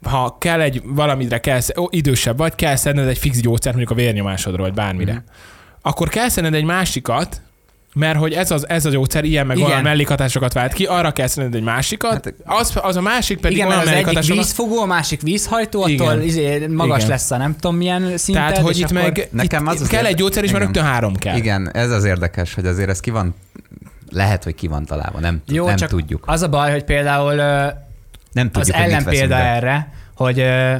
S1: ha kell egy valamire, kell, sz- ó, idősebb vagy, kell szedned egy fix gyógyszert, mondjuk a vérnyomásodra, vagy bármire,
S2: Mhm.
S1: akkor kell szedned egy másikat, mert hogy ez, az, ez a gyógyszer ilyen meg
S3: Igen.
S1: olyan mellékhatásokat vált ki, arra kell szedned egy másikat,
S2: Hát-
S1: az, az a másik pedig
S3: Igen,
S1: olyan
S3: mert az egyik
S1: mellékhatásokat...
S3: vízfogó, a másik vízhajtó, attól
S1: Igen.
S3: izé magas
S1: Igen.
S3: lesz a nem tudom milyen szinted.
S1: Tehát, hogy
S3: és
S1: itt
S3: akkor-
S1: meg
S2: Nekem
S1: itt
S2: az az
S1: kell egy
S2: érde-
S1: gyógyszer, és már
S2: Igen.
S1: rögtön három kell.
S2: Igen, ez az érdekes, hogy azért ez ki van, lehet, hogy ki van találva, nem, tud-
S3: Jó,
S2: nem
S3: csak
S2: tudjuk.
S3: az a baj, hogy például ö,
S2: Nem tudjuk,
S3: az
S2: hogy mit veszünk
S3: ellenpélda
S2: be.
S3: erre, hogy ö,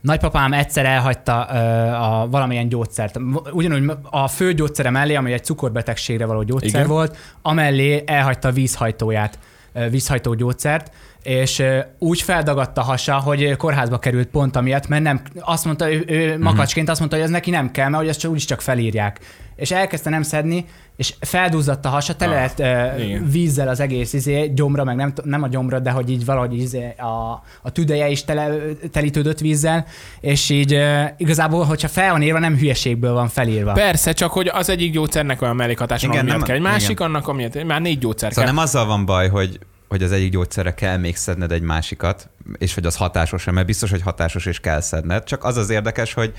S3: nagypapám egyszer elhagyta ö, a valamilyen gyógyszert. M- Ugyanúgy a fő gyógyszere mellé, ami egy cukorbetegségre való gyógyszer
S1: Igen.
S3: volt, amellé elhagyta a vízhajtóját, ö, vízhajtó gyógyszert, és ö, úgy feldagadt a hasa, hogy ö, kórházba került pont amiatt, mert nem, azt mondta, ő,
S2: Mhm.
S3: ő makacsként azt mondta, hogy ez neki nem kell, mert hogy ezt csak, úgyis csak felírják. És elkezdte nem szedni, és felduzzadt a hasa, tele
S1: Ah.
S3: lett ö,
S1: Igen.
S3: vízzel az egész izé, gyomra, meg nem, t- nem a gyomra, de hogy így valahogy izé, a, a tüdeje is tele, telítődött vízzel, és így ö, igazából, hogyha fel van írva, nem hülyeségből van felírva.
S1: Persze, csak hogy az egyik gyógyszernek olyan mellékhatása,
S2: Igen,
S1: ami miatt
S2: nem-
S1: kell egy másik,
S2: igen.
S1: annak amiatt már négy gyógyszer
S2: Szóval
S1: kell.
S2: nem azzal van baj, hogy, hogy az egyik gyógyszerre kell még szedned egy másikat, és hogy az hatásos-e, mert biztos, hogy hatásos és kell szedned, csak az az érdekes, hogy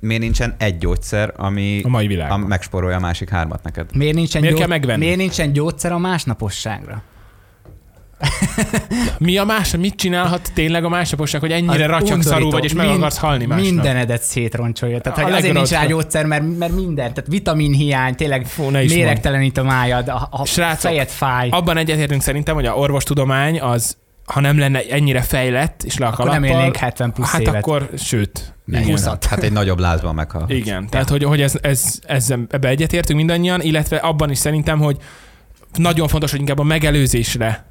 S2: miért nincsen egy gyógyszer, ami
S1: A mai
S2: a
S1: világban.
S2: megspórolja a másik hármat neked.
S3: Miért nincsen,
S1: Miért kell megvenni?
S3: miért nincsen gyógyszer a másnaposságra?
S1: Mi a más, mit csinálhat tényleg a másnaposság, hogy ennyire
S3: Az
S1: ratyak
S3: undorító.
S1: szarú vagy, és meg
S3: Mind-
S1: akarsz halni másnap?
S3: Mindenedet szétroncsolja. Tehát
S1: A
S3: hogy azért nincs rá
S1: legrosszabb.
S3: gyógyszer, mert, mert minden. Tehát vitaminhiány, tényleg
S1: Fú, ne is mondd.
S3: méregtelenít a májad, a, a
S1: Srácok,
S3: fejed fáj.
S1: Abban egyetértünk szerintem, hogy a orvostudomány az, ha nem lenne ennyire fejlett, és le a
S3: Akkor nem
S1: kalappal,
S3: élnénk 70 plusz
S1: Hát
S3: évet.
S1: akkor, sőt.
S2: Nem,
S1: igen.
S2: hát- Hát egy nagyobb lázban meghal.
S1: Igen, tehát hogy, hogy ez, ez, ezzel ebbe egyetértünk mindannyian, illetve abban is szerintem, hogy nagyon fontos, hogy inkább a megelőzésre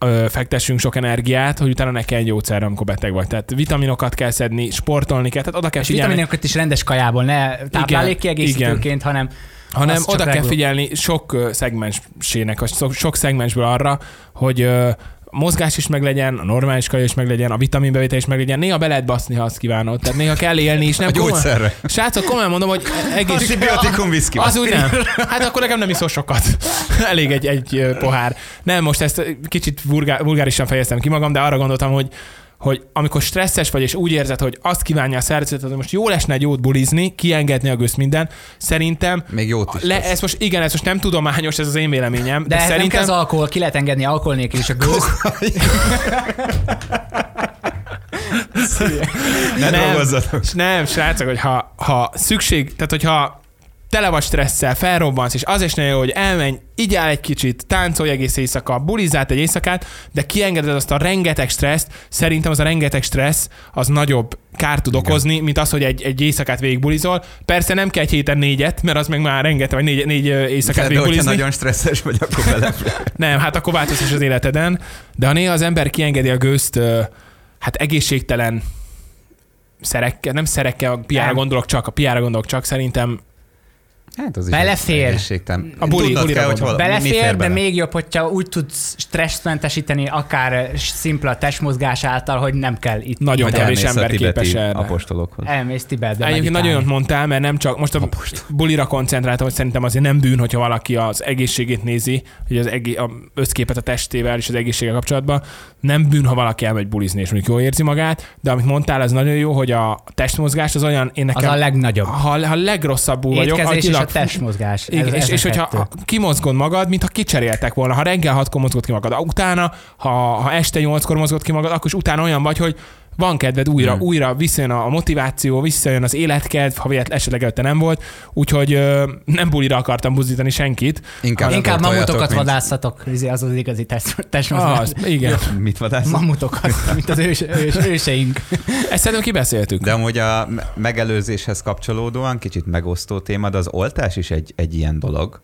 S1: ö, fektessünk sok energiát, hogy utána ne kell gyógyszerre, amikor beteg vagy. Tehát vitaminokat kell szedni, sportolni kell, tehát oda kell
S3: És
S1: figyelni,
S3: vitaminokat is rendes kajából, ne táplálékkiegészítőként, hanem
S1: hanem
S3: azt csak
S1: oda kell
S3: regló.
S1: figyelni sok ö, szegmensének, vagy sok, sok szegmensből arra, hogy ö, mozgás is meglegyen, a normális kaja is meglegyen, a vitaminbevétel is meglegyen, néha be lehet baszni, ha azt kívánod. Tehát néha kell élni, és nem
S2: A gyógyszerre.
S1: Komolyan, srácok, komolyan mondom, hogy egész,
S2: Antibiotikum viszki.
S1: Az úgy nem. [laughs] Hát akkor nekem nem iszol sokat. [laughs] Elég egy, egy ö, pohár. Nem, most ezt ö, kicsit vulgá- vulgárisan fejeztem ki magam, de arra gondoltam, hogy hogy amikor stresszes vagy, és úgy érzed, hogy azt kívánja a szervezeted, hogy most jól esne egy jót bulizni, kiengedni a gözt minden, szerintem
S2: Még jót is.
S1: le,
S2: Le,
S1: ez most, igen, ez most nem tudományos, ez az én véleményem, de,
S3: De,
S1: de
S3: ez nem kell
S1: szerintem
S3: az alkohol, ki lehet engedni alkohol nélkül is a gőzt.
S2: [laughs] ne
S1: nem.
S2: dolgozzatok.
S1: S [laughs] Nem, srácok, hogy ha, ha szükség, tehát hogyha tele vagy stresszel, felrobbansz, és az is nagyon jó, hogy elmenj, igyál egy kicsit, táncolj egész éjszaka, bulizált egy éjszakát, de kiengeded azt a rengeteg stresszt, szerintem az a rengeteg stressz az nagyobb kárt tud okozni, mint az, hogy egy, egy éjszakát végigbulizol. Persze nem kell egy héten négyet, mert az meg már rengeteg, vagy négy, négy ö, éjszakát
S2: De hogyha
S1: végigbulizni.
S2: nagyon stresszes vagy, akkor belefér.
S1: Nem, hát akkor változtass az életeden. De ha néha az ember kiengedi a gőzt, ö, hát egészségtelen szerekkel, nem szerekkel, a piára
S3: Nem.
S1: gondolok csak, a piára gondolok csak, szerintem
S2: Hát az is
S3: Belefér.
S2: egy egészségtelen.
S1: A buli-
S2: Tudnod
S1: bulira
S2: kell, hogy hol,
S1: gondolom.
S2: mi
S3: Belefér,
S2: fér
S3: de
S2: bele.
S3: még jobb, hogyha úgy tudsz stresszmentesíteni akár szimpla testmozgás által, hogy nem kell itt.
S1: nagyon
S2: Hogy
S1: kevés
S2: elmész a
S1: ember
S2: tibeti
S1: képes erre.
S2: apostolokhoz.
S3: Elmész Tibetbe
S1: Egyébként
S3: meditálni.
S1: nagyon jót mondtál, mert nem csak, most a bulira koncentráltam, hogy szerintem azért nem bűn, hogyha valaki az egészségét nézi, hogy az egé- a összképet a testével és az egészséggel kapcsolatban, nem bűn, ha valaki elmegy bulizni, és mondjuk jól érzi magát, de amit mondtál, az nagyon jó, hogy a testmozgás az olyan, én
S3: Az
S1: nekem,
S3: a legnagyobb.
S1: ha, ha legrosszabbul vagyok,
S3: Étkezés és a
S1: agyilag-
S3: testmozgás.
S1: igen,
S3: Ez,
S1: és,
S3: ez
S1: és hogyha a- kimozgod magad, mintha kicseréltek volna. Ha reggel hatkor mozgod ki magad, utána, ha, ha este nyolckor mozgod ki magad, akkor is utána olyan vagy, hogy van kedved újra,
S2: Mm.
S1: újra visszajön a a motiváció, visszajön az életkedv, ha véletlen esetleg előtte nem volt, úgyhogy ö, nem bulira akartam buzdítani senkit.
S2: Inkább,
S3: Inkább
S2: sportoljatok,
S3: mamutokat
S2: mint-
S3: vadászatok, izé, az az igazi test- testmozgás.
S1: Az, igen.
S2: Mit vadászok?
S3: Mamutokat, mint az ős, ős, őseink.
S1: Ezt szerintem kibeszéltük.
S2: De amúgy a me- megelőzéshez kapcsolódóan kicsit megosztó téma, de az oltás is egy, egy ilyen dolog.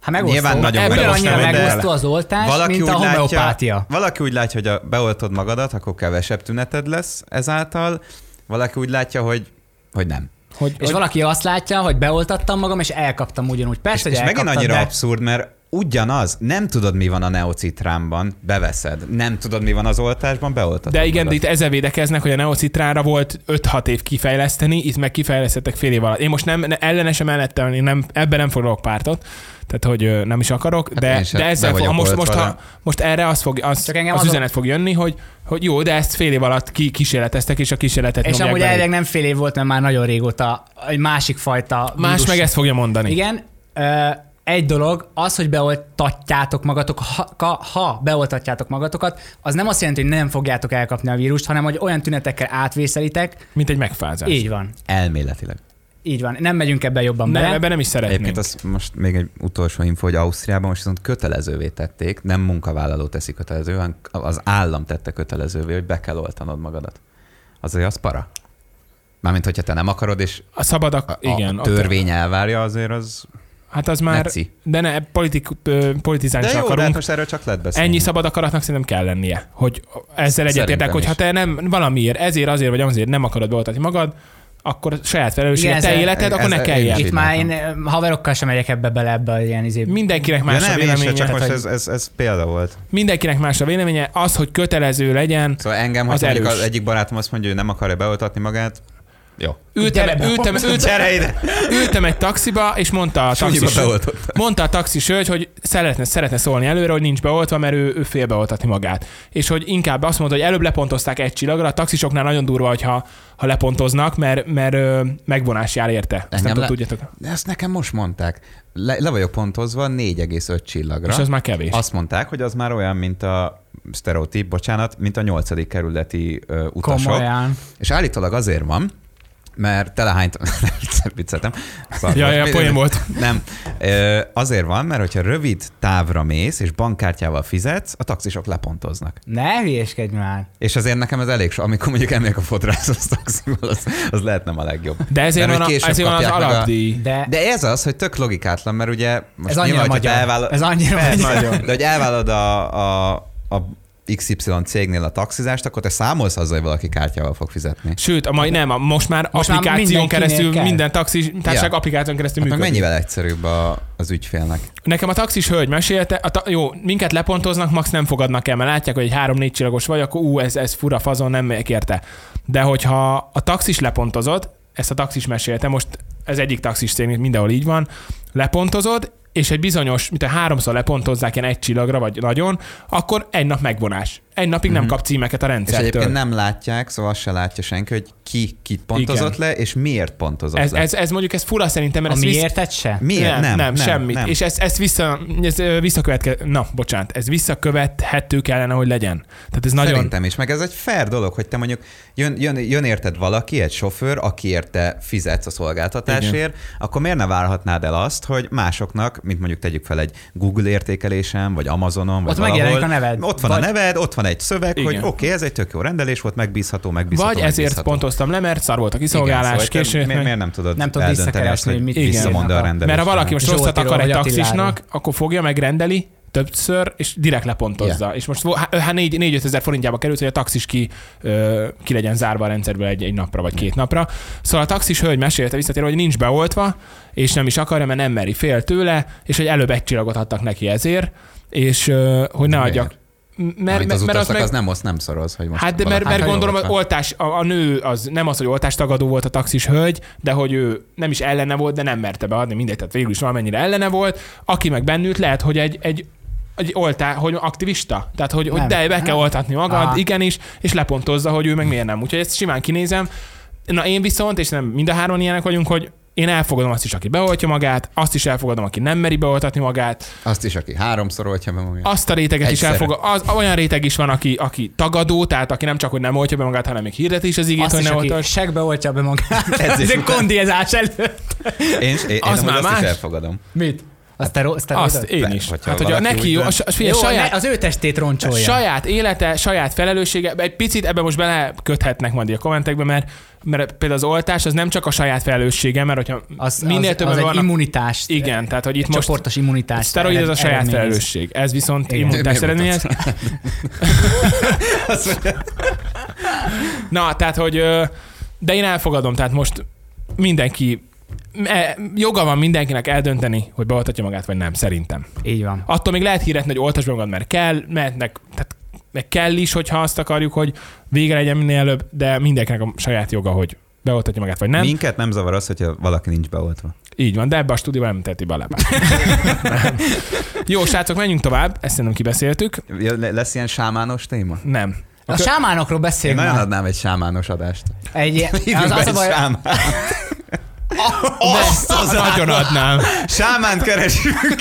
S3: Hát megosztó.
S2: Nyilván nagyon
S3: Ugyanannyira
S1: megosztó, de-
S3: megosztó az oltás,
S2: Valaki
S3: mint a
S2: úgy látja-
S3: homeopátia.
S2: Valaki úgy látja, hogy a, beoltod magadat, akkor kevesebb tüneted lesz ezáltal, valaki úgy látja, hogy hogy nem.
S1: Hogy,
S3: És
S1: hogy
S3: valaki azt látja, hogy beoltattam magam, és elkaptam ugyanúgy. Persze, hogy
S2: és megint
S3: elkaptad,
S2: annyira
S3: de...
S2: abszurd, mert ugyanaz, nem tudod, mi van a neocitrámban, beveszed. Nem tudod, mi van az oltásban, beoltatod
S1: de igen, de
S2: magad.
S1: itt ezzel védekeznek, hogy a Neocitrára volt 5-6 év kifejleszteni, itt meg kifejlesztettek fél év alatt. Én most nem ne- ellene sem mellettem, én nem, ebben nem foglalok pártot, tehát hogy ö, nem is akarok, de,
S2: Hát én sem,
S1: de
S2: be
S1: ezzel fog,
S2: vagyok
S1: most,
S2: oltva,
S1: most,
S2: de-
S1: ha, most erre az, fog, az,
S3: Csak
S1: Csak
S3: engem
S1: az, az
S3: azon-
S1: üzenet fog jönni, hogy, hogy jó, de ezt fél év alatt ki kísérleteztek, és a kísérletet
S3: És
S1: nyomják
S3: amúgy
S1: bele.
S3: elvileg nem fél év volt, mert már nagyon régóta egy másik fajta
S1: Más
S3: vírus.
S1: meg ezt fogja mondani.
S3: Igen, ö, egy dolog, az, hogy beoltatjátok magatok, ha, ka- ha beoltatjátok magatokat, az nem azt jelenti, hogy nem fogjátok elkapni a vírust, hanem hogy olyan tünetekkel átvészelitek.
S1: Mint egy megfázás.
S3: Így van,
S2: Elméletileg.
S3: így van. Nem megyünk ebbe jobban
S1: Nem,
S3: bele.
S1: ebben nem is szeretnénk.
S2: Egyébként azt most még egy utolsó info, hogy Ausztriában most viszont kötelezővé tették, nem munkavállaló teszi kötelezővé, hanem az állam tette kötelezővé, hogy be kell oltanod magadat. Azért az para. Mármint, hogyha te nem akarod, és
S1: A szabadak,
S2: a,
S1: igen.
S2: a
S1: ott-
S2: törvény elvárja, azért az
S1: Hát az már,
S2: neci.
S1: de ne, politik, ö, politizálni
S2: De
S1: sem
S2: jó, de hát
S1: akarunk.
S2: most erről csak lehet beszélni.
S1: Ennyi szabad akaratnak szerintem kell lennie, hogy ezzel egyetértek,
S2: Szerintem
S1: hogy ha
S2: is.
S1: te nem valamiért, ezért, azért vagy azért nem akarod beoltatni magad, akkor saját felelőssége
S3: Igen,
S1: te
S3: ez-
S1: életed,
S2: ez-
S1: akkor ne
S2: ez-
S1: kelljen.
S2: én
S3: Itt már én ö, haverokkal sem megyek ebbe bele, ebbe a ilyen izé.
S1: Mindenkinek
S2: Ja,
S1: más a
S2: nem, én
S1: véleménye.
S2: se, csak
S1: tehát,
S2: most
S1: hogy
S2: ez, ez, ez példa volt.
S1: Mindenkinek más a véleménye. Az, hogy kötelező legyen,
S2: Szóval engem,
S1: Az
S2: hogy mondjuk
S1: erős.
S2: az egyik barátom azt mondja, hogy nem akarja beoltatni magát, jó.
S1: ültem,
S3: Gyere be,
S1: ültem, ültem,
S2: Gyere ide!
S1: ültem egy taxiba, és mondta a
S2: Súnyiba
S1: taxis,
S2: beoltott.
S1: mondta a taxis hölgy, hogy szeretne, szeretne szólni előre, hogy nincs beoltva, mert ő, ő fél beoltatni magát. És hogy inkább azt mondta, hogy előbb lepontozták egy csillagra, a taxisoknál nagyon durva, hogyha, ha lepontoznak, mert, mert ö, megvonás jár érte. Ezt nem
S2: Engem
S1: le...
S2: le-
S1: tudjátok.
S2: De ezt nekem most mondták. Le, le vagyok pontozva 4,5 csillagra.
S1: És az már kevés.
S2: Azt mondták, hogy az már olyan, mint a sztereotíp, bocsánat, mint a nyolcadik kerületi ö, utasok.
S3: Komolyan.
S2: És állítólag azért van, mert telehányt... [laughs] Vicc- Vicceltem. Szóval
S1: Ja, ja,
S2: most-
S1: poén volt.
S2: [laughs] Nem. Ö, azért van, mert hogyha rövid távra mész, és bankkártyával fizetsz, a taxisok lepontoznak.
S3: Ne hülyéskedj már.
S2: És azért nekem ez elég so, amikor mondjuk elmegyek a fodrászhoz taxival, az, az lehet nem a legjobb.
S1: De ezért
S2: Mert
S1: van, a,
S2: hogy később
S1: ezért van az
S2: kapják meg a-
S1: alapdíj. A...
S3: De,
S2: De ez az, hogy tök logikátlan, mert ugye most
S3: ez annyira
S2: nyilván,
S3: magyar.
S2: hogyha elvállal...
S3: Ez annyira
S2: [laughs]
S3: magyar.
S2: De hogy elvállalod a, a, a XY cégnél a taxizást, akkor te számolsz azzal, hogy valaki kártyával fog fizetni.
S1: Sőt, a mai, nem, a, most már
S3: Most
S1: most
S3: már
S1: applikáción
S3: mindenkinél
S1: keresztül,
S3: kell.
S1: minden taxis, társaság
S2: Ja.
S1: applikáción keresztül
S2: Hát meg
S1: működik.
S2: mennyivel egyszerűbb a, az ügyfélnek?
S1: Nekem a taxis hölgy mesélte, a ta- jó, minket lepontoznak, max nem fogadnak el, mert látják, hogy egy három-négy csillagos vagy, akkor ú, ez, ez fura fazon, nem megyek érte. De hogyha a taxis lepontozott, ezt a taxis mesélte, most ez egyik taxis cégnél mindenhol így van, lepontozod, és egy bizonyos, mint a háromszor lepontozzák ilyen egy csillagra, vagy nagyon, akkor egy nap megvonás. Egy napig nem kap címeket a
S2: Mhm. És egyébként
S1: rendszertől.
S2: nem látják, szóval azt se látja senki, hogy ki kit pontozott
S1: Igen.
S2: le, és miért pontozott
S1: Ez,
S2: le.
S1: ez, ez, mondjuk ez fura szerintem, mert
S3: a
S1: ez visz-
S3: miértet se?
S2: miért?
S1: Nem, nem, nem,
S2: nem
S1: semmit.
S2: Nem.
S1: És ezt, ezt vissza, ez ö, visszakövetke... Na, bocsánat, ez visszakövethető kellene, hogy legyen. Tehát ez nagyon...
S2: Szerintem is, meg ez egy fair dolog, hogy te mondjuk jön, jön, jön érted valaki, egy sofőr, akiért te fizetsz a szolgáltatásért, Igen. akkor miért ne várhatnád el azt, hogy másoknak, mint mondjuk tegyük fel egy Google értékelésen, vagy Amazonon, vagy
S3: Ott
S2: valahol,
S3: megjelenik a neved.
S2: Ott van
S3: Vagy-
S2: a neved, ott van egy szöveg, Igen. hogy
S1: Igen.
S2: oké, okay, ez egy tök jó rendelés volt, megbízható, megbízható,
S1: Vagy ezért
S2: megbízható.
S1: pontoztam le, mert szar volt a kiszolgálás,
S2: Igen, szóval
S1: későn
S2: te
S1: jött
S2: miért,
S1: meg.
S2: miért nem tudod
S3: Nem tudod
S2: eldönteni azt,
S3: visszakeresni,
S2: hogy
S3: hogy mit
S2: mit visszamond a
S3: írnak a-
S2: rendelés?
S1: Mert ha valaki most
S3: Zsoltiról
S1: rosszat akar
S3: vagy
S1: egy taxisnak,
S3: Attiláról.
S1: akkor fogja, megrendeli, többször, és direkt lepontozza. Yeah. És most vo- há- há- 4-5 ezer forintjába került, hogy a taxis ki, ö, ki legyen zárva a rendszerből egy, egy napra vagy két napra. Szóval a taxis hölgy mesélte visszatérve, hogy nincs beoltva, és nem is akarja, mert nem meri fél tőle, és hogy előbb egy csillagot adtak neki ezért, és ö, hogy ne
S2: Miért?
S1: adjak. m- Mert,
S2: Mert,
S1: mert
S2: az utasnak
S1: az meg,
S2: az nem osz, nem szoroz, hogy most
S1: Hát de mert,
S2: valaki-
S1: mert
S2: Hát,
S1: gondolom,
S2: jó,
S1: az oltás, a, a nő az nem az, hogy oltástagadó volt a taxis hölgy, de hogy ő nem is ellene volt, de nem merte beadni, mindegy, tehát végül is valamennyire ellene volt. Aki meg bennült, lehet, hogy egy, egy egy oltá, hogy aktivista? Tehát, hogy, hogy
S3: Nem.
S1: de be kell oltatni magad,
S3: Aha.
S1: igenis, és lepontozza, hogy ő meg miért nem. Úgyhogy ezt simán kinézem. Na én viszont, és nem mind a hárman ilyenek vagyunk, hogy én elfogadom azt is, aki beoltja magát, azt is elfogadom, aki nem meri beoltatni magát,
S2: Azt is, aki háromszor oltja be magát.
S1: azt a réteget
S2: Egyszerre.
S1: is elfog. Az, olyan réteg is van, aki, aki tagadó, tehát aki nem csak, hogy nem oltja be magát, hanem még hirdeti is az igét,
S3: Azt
S1: hogy
S3: is,
S1: nem
S3: aki
S1: oltas.
S3: segbe oltja be magát.
S2: Edzés
S3: Ez egy
S2: után.
S3: kondiezás előtt.
S2: Én, én, én
S1: az
S2: amúgy
S1: már
S2: azt
S1: más.
S2: is elfogadom.
S3: Mit? Azt te, azt te
S1: Azt én
S2: De,
S1: is.
S2: hogyha
S1: Hát, hogy a
S2: valaki
S1: neki
S2: úgy
S1: jó, a,
S2: dönt.
S1: s- a, figyelj,
S3: Jó,
S1: saját,
S3: saját, az ő testét roncsolja.
S1: saját élete, saját felelőssége, egy picit ebbe most beleköthetnek majd így a kommentekbe, mert, mert például az oltás az nem csak a saját felelőssége, mert hogyha
S3: az,
S1: az, minél
S3: az,
S1: többen
S3: az egy
S1: vannak...
S3: immunitás.
S1: Igen, tehát hogy itt
S3: Most
S1: most
S3: csoportos immunitás.
S1: szteroid ez a
S3: ered-
S1: saját
S3: eredményez.
S1: felelősség. Ez viszont
S3: Igen.
S1: immunitás
S2: Miért
S1: eredményez. Na, tehát, hogy ö, de én elfogadom, tehát most mindenki e- joga van mindenkinek eldönteni, hogy beoltatja magát, vagy nem, szerintem.
S3: Így van.
S1: Attól még lehet híretni, hogy oltasd be magad, mert kell, mehetnek, tehát meg kell is, hogyha azt akarjuk, hogy vége legyen minél előbb, de mindenkinek a saját joga, hogy beoltatja magát, vagy nem. Mi?
S2: Minket nem zavar az, hogyha valaki nincs beoltva.
S1: Így van, de ebbe a stúdióban nem teheti [laughs] bele. Jó, srácok, menjünk tovább, ezt szerintem kibeszéltük.
S2: Ja, le- Lesz ilyen sámános téma?
S1: Nem.
S3: A sámánokról
S2: Én
S3: beszélünk
S2: nagyon
S3: már.
S2: adnám egy sámános adást.
S3: Egy, ilyen- az,
S2: Hívjuk
S3: az
S2: be
S3: a
S2: egy
S3: baj,
S2: sámán.
S1: Azt az nagyon adnám.
S2: Sámánt keresünk.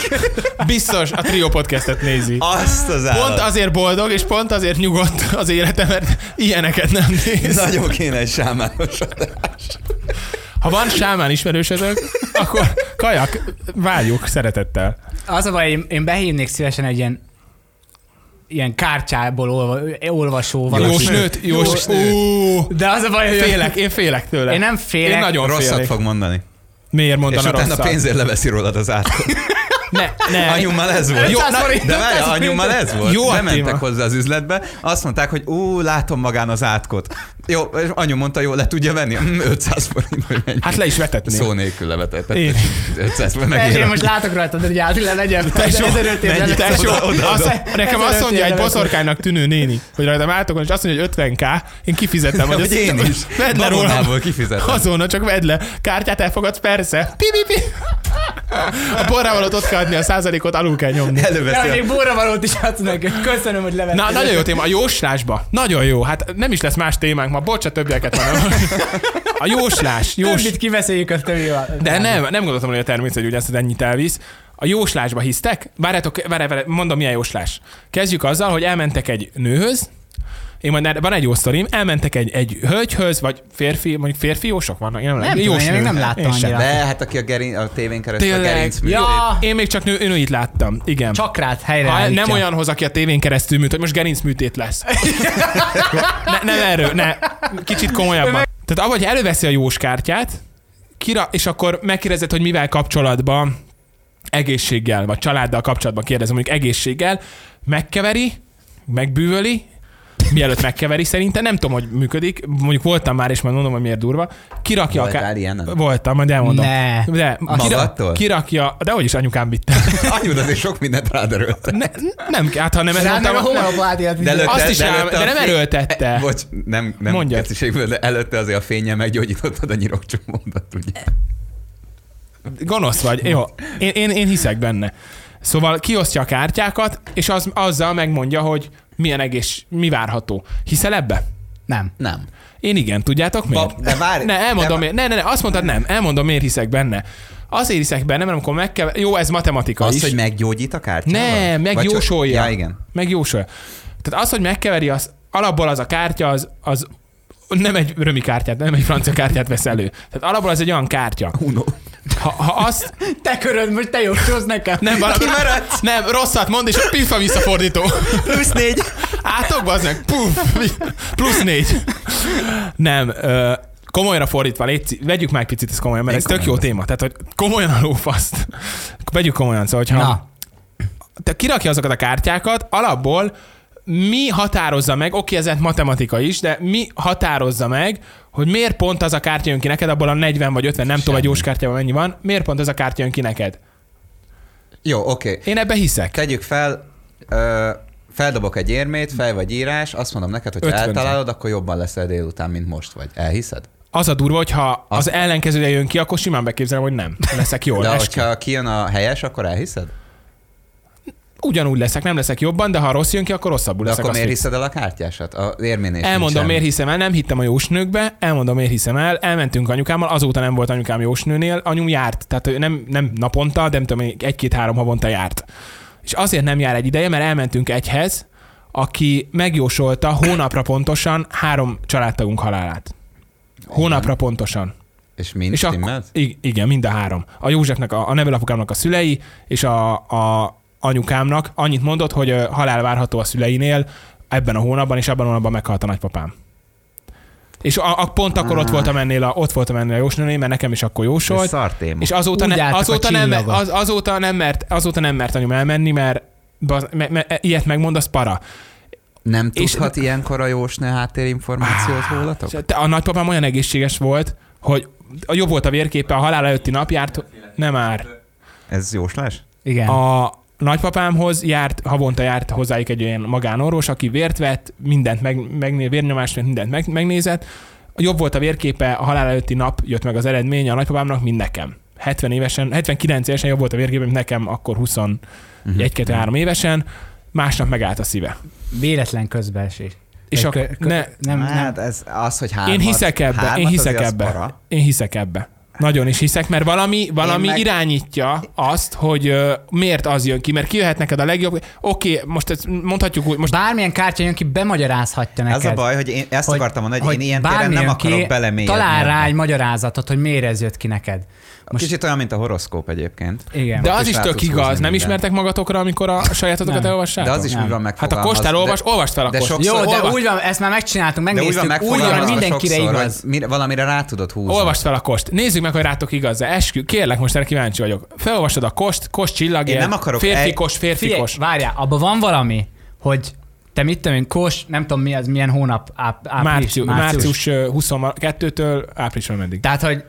S1: Biztos a Trio podcastet nézi.
S2: Azt az állat.
S1: Pont azért boldog, és pont azért nyugodt az élete, mert ilyeneket nem néz.
S2: Nagyon kéne egy sámános adást.
S1: Ha van sámán ismerősödök, akkor kajak, várjuk szeretettel.
S3: az a baj, én, én behívnék szívesen egy ilyen ilyen kártyából olva, olvasó valaki.
S1: Jósnőt, jósnőt.
S2: Jósnőt.
S1: Ó,
S3: De az a baj, hogy
S1: Félek, én félek tőle.
S3: Én nem félek.
S1: Én nagyon
S2: Rosszat
S1: félek.
S2: fog mondani.
S1: Miért
S2: És
S1: mondana
S2: utána
S1: rosszat?
S2: pénzért leveszi rólad az átkot.
S1: Ne, ne.
S2: Anyummal ez volt.
S1: Jó,
S3: 500
S1: na,
S3: forint.
S2: De várj, anyummal ez volt.
S1: Jó
S2: Jó
S1: a
S2: Bementek
S1: téma.
S2: hozzá az üzletbe, azt mondták, hogy ú, látom magán az átkot. Jó, és anyu mondta, jó, le tudja venni? Hm, 500 forint, hogy mennyi.
S1: Hát le is vetetném.
S2: Szó nélkül levetett.
S1: Én.
S2: 500 forint
S3: Persze, én
S2: megérem.
S3: most látok rajtad, hogy át le legyen.
S1: Tesó,
S3: Ezelőtt év
S1: mennyi,
S3: lenne.
S1: tesó,
S2: Oda, oda,
S1: azt-
S2: oda.
S1: nekem azt
S3: Ezelőtt
S1: mondja egy
S3: éve
S1: boszorkánynak tűnő néni, hogy rajtam átokon, és azt mondja, hogy 50k, én kifizetem, hogy
S2: [laughs] Hogy
S1: ezt-
S2: én is.
S1: Vedd le rólam.
S2: Babonából kifizetem.
S1: Azonnal csak vedd le. Kártyát elfogadsz, persze. Pi, pi, pi. A borrával ott kell adni a százalékot, alul kell nyomni.
S2: Hát,
S3: Ja,
S2: Előveszi a
S3: még borravalót is adsz nekünk. Köszönöm, hogy levettél.
S1: Na, nagyon jó téma, a jóslásba. Nagyon jó. Hát nem is lesz más témánk ma, bocs, a többieket
S2: [laughs]
S1: van. A jóslás. Jós...
S3: Többit kiveszéljük a többivel.
S1: De nem, nem gondoltam, hogy a természet hogy ezt ennyit elvisz. A jóslásba hisztek? Várjátok, várj, várj, mondom, milyen jóslás. Kezdjük azzal, hogy elmentek egy nőhöz, én majd erre- van egy jó sztorim, elmentek egy, egy hölgyhöz, vagy férfi, mondjuk férfi jósok vannak, én nem,
S3: Nem tudom, én
S1: jósnő.
S3: még nem láttam
S1: Én sem.
S3: annyira.
S2: De hát aki a, gerin, a tévén keresztül
S1: Tényleg.
S2: a gerinc művét.
S3: Ja,
S1: Én még csak nő, nőit láttam, igen.
S3: csak rád helyre
S1: ha
S3: állítja.
S1: nem olyanhoz, aki a tévén keresztül műt, hogy most gerincműtét lesz. ne, nem erről, ne. Kicsit komolyabban. Tehát avagy előveszi a jós kártyát, kira, és akkor megkérdezed, hogy mivel kapcsolatban, egészséggel, vagy családdal kapcsolatban kérdezem, mondjuk egészséggel, megkeveri, megbűvöli, mielőtt megkeveri szerintem, nem tudom, hogy működik, mondjuk voltam már, és majd mondom, hogy miért durva, kirakja a
S2: Voltál
S1: ká-
S2: ilyenen?
S1: Voltam, majd elmondom.
S3: Ne.
S1: De, kira-
S2: Magadtól?
S1: kirakja, de hogy is anyukám vitte.
S2: Anyud azért sok mindent rád erőlte.
S1: Ne, nem, hát ha nem
S3: Rád meg a hónapba átélt.
S2: De előtte-
S1: Azt is
S2: de
S1: rám,
S2: előtte
S1: de
S2: a
S1: nem
S2: fény-
S1: erőltette.
S2: Bocs, nem, nem
S1: Mondjad.
S2: keciségből, de előtte azért a fényen meggyógyítottad a nyirokcsomódat, ugye?
S1: Gonosz vagy. Jó, én, én, én hiszek benne. Szóval kiosztja a kártyákat, és az, azzal megmondja, hogy milyen egész, mi várható. Hiszel ebbe?
S3: Nem.
S2: Nem.
S1: Én igen, tudjátok miért?
S2: Ba- de várj,
S1: ne, elmondom
S2: de-
S1: miért. Ne, ne, ne, azt mondtad nem. Elmondom, miért hiszek benne. Azért hiszek benne, mert amikor meg kell... Jó, ez matematika
S2: Az,
S1: is.
S2: hogy meggyógyít a kártyával?
S1: Nem,
S2: Vagy csak-
S1: megjósolja.
S2: Ja, igen.
S1: Megjósolja. Tehát az, hogy megkeveri, az alapból az a kártya, az, az nem egy römi kártyát, nem egy francia kártyát vesz elő. Tehát alapból az egy olyan kártya.
S2: Uno.
S1: Ha, ha azt,
S3: Te köröd, most te jósolsz nekem.
S1: Nem, valami...
S2: Kimaradt.
S1: Nem, rosszat mond, és a pifa visszafordító.
S2: Plusz négy.
S1: Átok, az meg, puf, plusz négy. Nem, ö, komolyra fordítva, légy, vegyük már egy picit ezt komolyan, mert
S2: Én
S1: ez tök jó
S2: komolyan
S1: téma. Tehát, hogy komolyan a lófaszt. Vegyük komolyan, szóval, hogyha
S3: Na.
S1: te kirakja azokat a kártyákat, alapból mi határozza meg, oké, ez egy matematika is, de mi határozza meg, hogy miért pont az a kártya jön ki neked, abból a 40 vagy 50, nem tudom,
S2: Semmi.
S1: egy jós kártyában mennyi van, miért pont az a kártya jön ki neked?
S2: Jó, oké. Okay.
S1: Én ebbe hiszek.
S2: Tegyük fel, ö, feldobok egy érmét, fel vagy írás, azt mondom neked, hogy ha
S1: 50.
S2: eltalálod, akkor jobban leszel délután, mint most vagy. Elhiszed?
S1: Az a durva, hogyha az, az
S2: Az-
S1: ellenkezője jön ki, akkor simán beképzelem, hogy nem leszek jól.
S2: De
S1: Eskü-
S2: hogyha kijön a helyes, akkor elhiszed?
S1: Ugyanúgy leszek, nem leszek jobban, de ha rossz jön ki, akkor rosszabbul
S2: De
S1: leszek.
S2: akkor
S1: azt
S2: miért
S1: fix.
S2: hiszed el a kártyásat? A érménél sincs
S1: Elmondom,
S2: semmi.
S1: miért hiszem el, nem hittem a jósnőkbe, elmondom, miért hiszem el, elmentünk anyukámmal, azóta nem volt anyukám jósnőnél, anyum járt, tehát ő nem, nem naponta, de nem tudom, egy-két-három havonta járt. És azért nem jár egy ideje, mert elmentünk egyhez, aki megjósolta hónapra pontosan három családtagunk halálát. Hónapra pontosan.
S2: És mind
S1: És
S2: és
S1: akkor, ig- igen, mind a három. A Józsefnek, a, a nevelapukámnak a szülei, és a, a anyukámnak annyit mondott, hogy ö, halál várható a szüleinél ebben a hónapban, és abban a hónapban meghalt a nagypapám. És a, a pont akkor ott voltam ennél a, ott voltam ennél a jósnőnél, mert nekem is akkor jósolt.
S2: Szartém.
S1: És azóta,
S3: Úgy
S1: ne,
S3: álltak a
S1: azóta, nem,
S3: csillagok.
S1: az, azóta, nem mert, azóta nem mert anyum elmenni, mert baz, me, me, e- ilyet megmond, az para.
S2: Nem
S1: és-
S2: tudhat ilyenkor a jósnő háttérinformációt rólatok?
S1: Te- A nagypapám olyan egészséges volt, hogy a jobb volt a vérképe, a halál előtti nap járt, nem már.
S2: Ez jóslás?
S3: Igen. A...
S1: A nagypapámhoz járt, havonta járt hozzájuk egy olyan magánorvos, aki vért vett, mindent meg, megné, vérnyomást, vett, mindent meg, megnézett. Jobb volt a vérképe, a halál előtti nap jött meg az eredménye a nagypapámnak, mint nekem. 70 évesen, 79 évesen jobb volt a vérképe, mint nekem, akkor 21
S2: Mhm.
S1: 2
S3: Mhm.
S1: 3 évesen, másnap megállt a szíve.
S3: Véletlen közbeesés.
S1: És
S3: Egy
S1: akkor
S3: kö- kö-
S1: ne,
S3: nem, nem.
S2: Hát ez az, hogy hármat,
S1: én hiszek ebbe,
S2: hármat,
S1: én hiszek
S2: azért az
S1: ebbe.
S2: para.
S1: Én hiszek ebbe. Nagyon is hiszek, mert valami, valami meg...
S2: meg-
S1: irányítja azt, hogy ö, miért az jön ki, mert ki jöhet neked a legjobb. Oké, most ezt mondhatjuk úgy, most
S3: Bármilyen kártya jön ki, bemagyarázhatja neked.
S2: Az a baj, hogy én ezt
S3: Hogy-
S2: akartam mondani, hogy,
S3: hogy
S2: én ilyen téren nem
S3: bármilyen
S2: akarok belemélyedni.
S3: Talál rá
S2: ebbe.
S3: egy magyarázatot, hogy miért ez jött ki neked. Most,
S2: Kicsit olyan, mint a horoszkóp egyébként.
S3: igen.
S1: De
S2: Ott
S1: az
S2: is
S1: is
S2: rá
S1: tök
S2: tudsz húzni
S1: igaz, nem
S2: mindent.
S1: ismertek magatokra, amikor a sajátotokat
S3: Nem.
S1: elolvassátok?
S2: De az is
S3: Nem.
S2: mi van
S1: Hát a
S2: megfogalmazva.
S1: kostál
S2: de-
S1: olvas, olvasd fel a
S2: de
S1: kostát.
S2: sok-
S3: Jó, de
S2: olva-
S3: úgy van, ezt már megcsináltunk,
S2: De úgy van
S3: megnéztük, úgy van, hogy
S2: megfogalmazva
S3: mindenkire
S2: sokszor,
S3: igaz.
S2: hogy mire- valamire rá tudod húzni.
S1: Olvasd fel a kost. Nézzük meg, hogy rátok igaz-e. Eskü, kérlek, most erre kíváncsi vagyok. Felolvasod a kost, kost csillag,
S2: Én
S1: ilyen
S2: nem akarok
S1: férfi
S2: egy-
S1: kost, férfi
S3: Figyelj,
S1: kost.
S3: várjál, abban van valami, hogy te mit tudom én, kós, nem tudom mi az, milyen hónap, áp, április,
S1: Március, március ö, 22-től áprilisra meddig.
S3: Tehát, hogy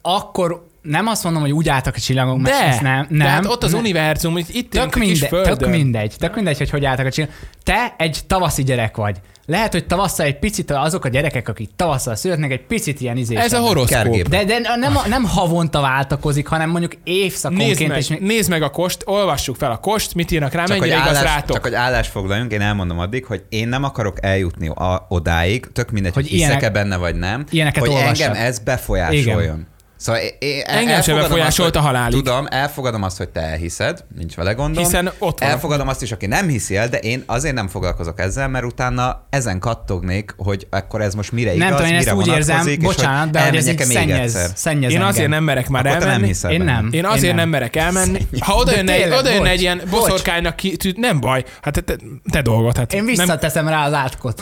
S3: akkor nem azt mondom, hogy úgy álltak a csillagok, mert
S1: De,
S3: ezt nem, nem.
S1: de hát ott az
S3: nem.
S1: univerzum, itt, itt
S3: Tök,
S1: ülünk a kis
S3: minde, tök
S1: földön.
S3: mindegy, tök mindegy, hogy hogy álltak a csinálni. Te egy tavaszi gyerek vagy. Lehet, hogy tavasszal egy picit azok a gyerekek, akik tavasszal születnek, egy picit ilyen izésebbek.
S1: Ez a horoszkóp.
S2: Kergép.
S3: De, de nem, nem havonta váltakozik, hanem mondjuk évszakonként.
S1: Nézd meg,
S3: és még...
S1: nézd meg a kost, olvassuk fel a kost, mit írnak rá,
S2: Csak hogy,
S1: mennyire igaz
S2: állás,
S1: rátok.
S2: csak hogy állásfoglaljunk, én elmondom addig, hogy én nem akarok eljutni a, odáig, tök mindegy,
S3: Hogy
S2: hogy, hogy hiszek-e
S3: ilyenek-
S2: benne vagy nem,
S3: ilyeneket
S2: hogy
S3: olvassad.
S2: engem ez befolyásoljon.
S3: Igen.
S2: Igen. Szóval én- én
S1: Engem se
S2: elfogadom azt,
S1: befolyásolt
S2: hogy-
S1: a halálig.
S2: Tudom, elfogadom azt, hogy te elhiszed, nincs vele gondom.
S1: Hiszen ott van.
S2: Elfogadom azt is, aki nem hiszi el, de én azért nem foglalkozok ezzel, mert utána ezen kattognék, hogy akkor ez most mire igaz,
S3: nem tudom, én
S2: mire
S3: ezt úgy érzem,
S2: vonatkozik, és
S3: bocsánat, de hogy ez így
S2: elmenjek-e még
S3: szennyez,
S2: egyszer.
S3: szennyez
S1: Én
S3: engem.
S1: azért nem merek már
S2: Akkor te nem
S1: elmenni.
S2: hiszel
S3: Én
S2: benne.
S3: nem.
S1: Én azért
S3: nem.
S1: nem. merek elmenni. Ha oda jön, egy,
S3: tényleg,
S1: oda jön
S3: bocs,
S1: egy ilyen
S3: bocs.
S1: boszorkánynak ki, tű, nem baj, hát te, te, te dolgod. Hát
S3: Én
S1: nem,
S3: visszateszem rá az átkot.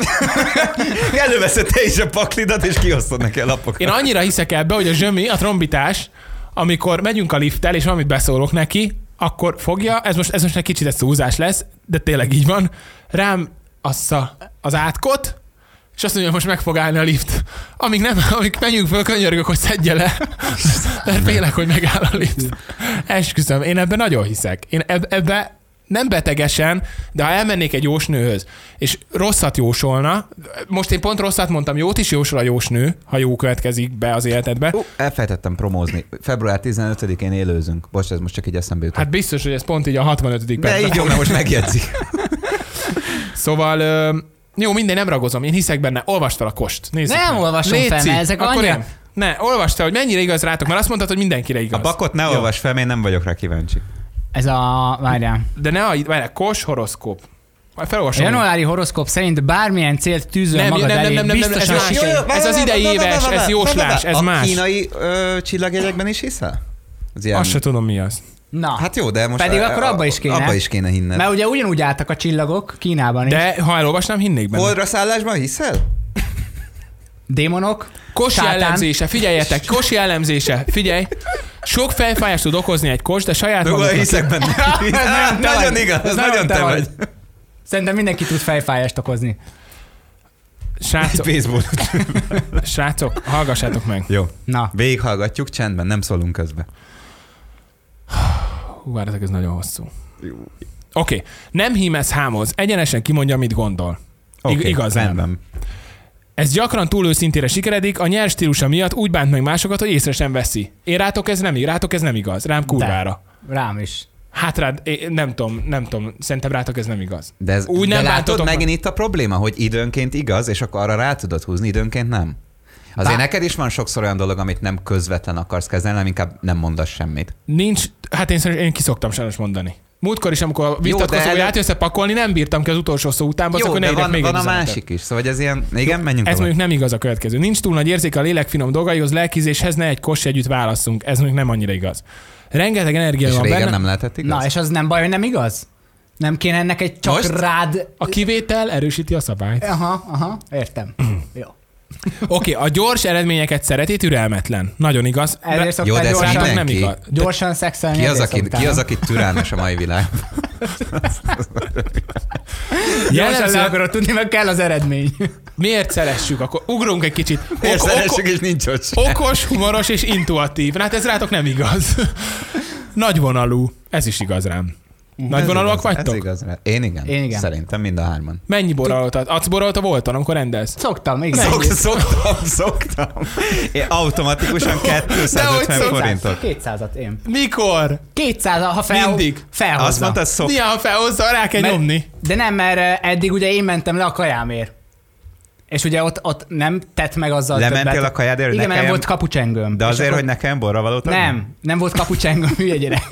S2: [laughs] Előveszed te is a paklidat, és kiosztod neki a lapokat.
S1: én annyira hiszek ebbe, hogy a zsömi, a trombitás, amikor megyünk a lifttel, és valamit beszólok neki, akkor fogja, ez most, ez most egy kicsit egy szúzás lesz, de tényleg így van, rám assza az átkot, és azt mondja, hogy most meg fog állni a lift. Amíg nem, amíg menjünk föl, könyörgök, hogy szedje le, mert félek, hogy megáll a lift. Esküszöm, én ebben nagyon hiszek. Én eb- ebbe nem betegesen, de ha elmennék egy jósnőhöz, és rosszat jósolna, most én pont rosszat mondtam, jót is jósol a jósnő, ha jó következik be az életedbe.
S2: Ú, elfelejtettem promózni. Február 15-én élőzünk. Bocs, ez most csak így eszembe jutott.
S1: Hát biztos, hogy ez pont így a 65.
S2: de így
S1: percben.
S2: jó, mert most megjegyzi.
S1: Szóval ö, jó, minden nem ragozom, én hiszek benne, olvasd fel a kost. Nézzük
S3: Nem
S1: meg.
S3: olvasom fel,
S1: Léci,
S3: mert ezek
S1: akkor
S3: annyira-
S1: én. Ne, olvasd fel, hogy mennyire igaz rátok, mert azt mondtad, hogy mindenkire
S2: A
S1: igaz.
S2: bakot ne
S1: Jó.
S2: olvas fel, mert én nem vagyok rá kíváncsi.
S3: [laughs] Ez a... Várjál.
S1: De ne, a- várjál, kos horoszkóp. Majd
S3: A
S1: felolvasom. én.
S3: januári horoszkóp szerint bármilyen célt tűzöl
S1: Nem,
S3: magad
S1: nem, nem,
S3: elé,
S1: nem, nem, nem, ez
S3: biztosan
S1: más.
S3: sikerül.
S1: jó, ez az idei éves, ez jóslás, ez
S2: a
S1: más.
S2: kínai ö, csillagjegyekben is hiszel? Az ilyen...
S1: Azt se tudom, mi az.
S3: Na,
S2: Hát jó, de most...
S3: Pedig akkor abba is kéne.
S2: Abba is kéne hinned.
S3: mert ugye ugyanúgy álltak a csillagok Kínában is.
S1: De ha elolvasnám, hinnék benne.
S2: Holdra szállásban hiszel?
S3: Démonok,
S1: Kos
S3: sátán.
S1: jellemzése, figyeljetek, kos jellemzése, figyelj. Sok fejfájást tud okozni egy kos, de saját
S2: Jó,
S1: maguknak-
S2: hiszek [laughs] benne.
S3: nagyon te
S2: nagyon
S3: vagy.
S2: igaz,
S3: Ez
S2: ez nagyon te vagy.
S3: Szerintem mindenki tud fejfájást okozni.
S2: Hát
S1: Srácok,
S2: Baseball.
S1: srácok, hallgassátok meg.
S2: Jó.
S3: Na,
S2: Végighallgatjuk csendben, nem szólunk közbe.
S1: Hú, várjátok, ez nagyon hosszú. Oké, okay. nem hímez hámoz, egyenesen kimondja, mit gondol. Ig-
S2: Oké,
S1: igazán.
S2: Rendben.
S1: Ez gyakran túl őszintére sikeredik, a nyers stílusa miatt úgy bánt meg másokat, hogy észre sem veszi. Én rátok ez nem, rátok ez nem igaz, rám kurvára.
S3: rám is.
S1: Hát rád, é- nem tudom, nem tudom, szerintem rátok ez nem igaz.
S2: De, ez,
S1: Úgy
S2: Úgy de
S1: nem
S2: nem látod
S1: bántotok meg.
S2: megint itt a probléma, hogy időnként igaz, és akkor arra rá tudod húzni, időnként nem. Azért
S3: Bá-
S2: neked is van sokszor olyan dolog, amit nem közvetlen akarsz kezelni, hanem inkább nem mondasz semmit.
S1: Nincs, hát én, szerintem- én kiszoktam sajnos mondani. Múltkor is, amikor vitatkoztunk, hogy
S2: előbb-
S1: át összepakolni, nem bírtam ki az utolsó szó után,
S2: Jó,
S1: akkor ne
S2: de
S1: írjak
S2: van,
S1: még
S2: van
S1: egy
S2: a
S1: üzenetet.
S2: másik is. Szóval ez ilyen, igen, menjünk
S1: Ez
S2: tovább.
S1: mondjuk nem igaz a következő. Nincs túl nagy érzéke a lélek finom dolgaihoz, lelkizéshez, ne egy kos együtt válasszunk. Ez mondjuk nem annyira igaz. Rengeteg energia
S2: És
S1: van
S2: régen
S1: benne.
S2: nem lehetett igaz?
S3: Na, és az nem baj, hogy nem igaz? Nem kéne ennek egy csak
S2: Most?
S3: rád...
S1: A kivétel erősíti a szabályt.
S3: Aha, aha,
S2: [clears throat]
S3: értem. Jó.
S1: Oké, okay, a gyors eredményeket szereti, türelmetlen. Nagyon igaz.
S3: Ezért
S2: Jó, de
S3: szoktál
S2: ez
S3: gyorsan,
S1: Szerintem
S2: minden-
S1: nem
S2: mindenki.
S1: igaz.
S3: gyorsan szexelni.
S2: Ki az,
S3: ezért
S2: aki,
S3: szoktál,
S2: ki az,
S3: nem?
S2: aki türelmes a
S1: [laughs]
S2: mai világ?
S3: Gyorsan le
S1: Jellemző,
S3: akarod tudni, mert kell az eredmény.
S1: miért szeressük? Akkor ugrunk egy kicsit.
S2: Miért
S1: Oko-
S2: szeressük, és nincs ott se.
S1: oko- okos, humoros és intuatív. Na, Hát ez rátok nem igaz. Nagyvonalú. Ez is igaz rám. Nagyvonalúak
S2: Ez igaz, Ez
S1: vagytok?
S2: igaz, rá. Én igen.
S3: Én igen.
S2: Szerintem mind a hárman.
S1: Mennyi boroltat? Adsz borolta voltan, amikor rendelsz?
S3: [laughs] Szoktam, igen.
S2: Szok, szoktam, szoktam. Én automatikusan 250 forintot.
S3: 200-at én.
S1: Mikor?
S3: 200 ha fel,
S1: Mindig.
S3: felhozza.
S2: Azt mondta, szok.
S1: Néha felhozza, rá kell
S3: Mert-
S1: nyomni.
S3: De nem, mert eh, eddig ugye én mentem le a kajámért. És ugye ott, ott nem tett meg azzal
S2: Lementél
S3: többet.
S2: a kajád előtt?
S3: Igen, mert nem
S2: Nekem-
S3: volt kapucsengőm.
S2: De
S3: És
S2: azért,
S3: akkor-
S2: hogy nekem borra való
S3: Nem, nem volt kapucsengőm, [laughs] hülye gyerek.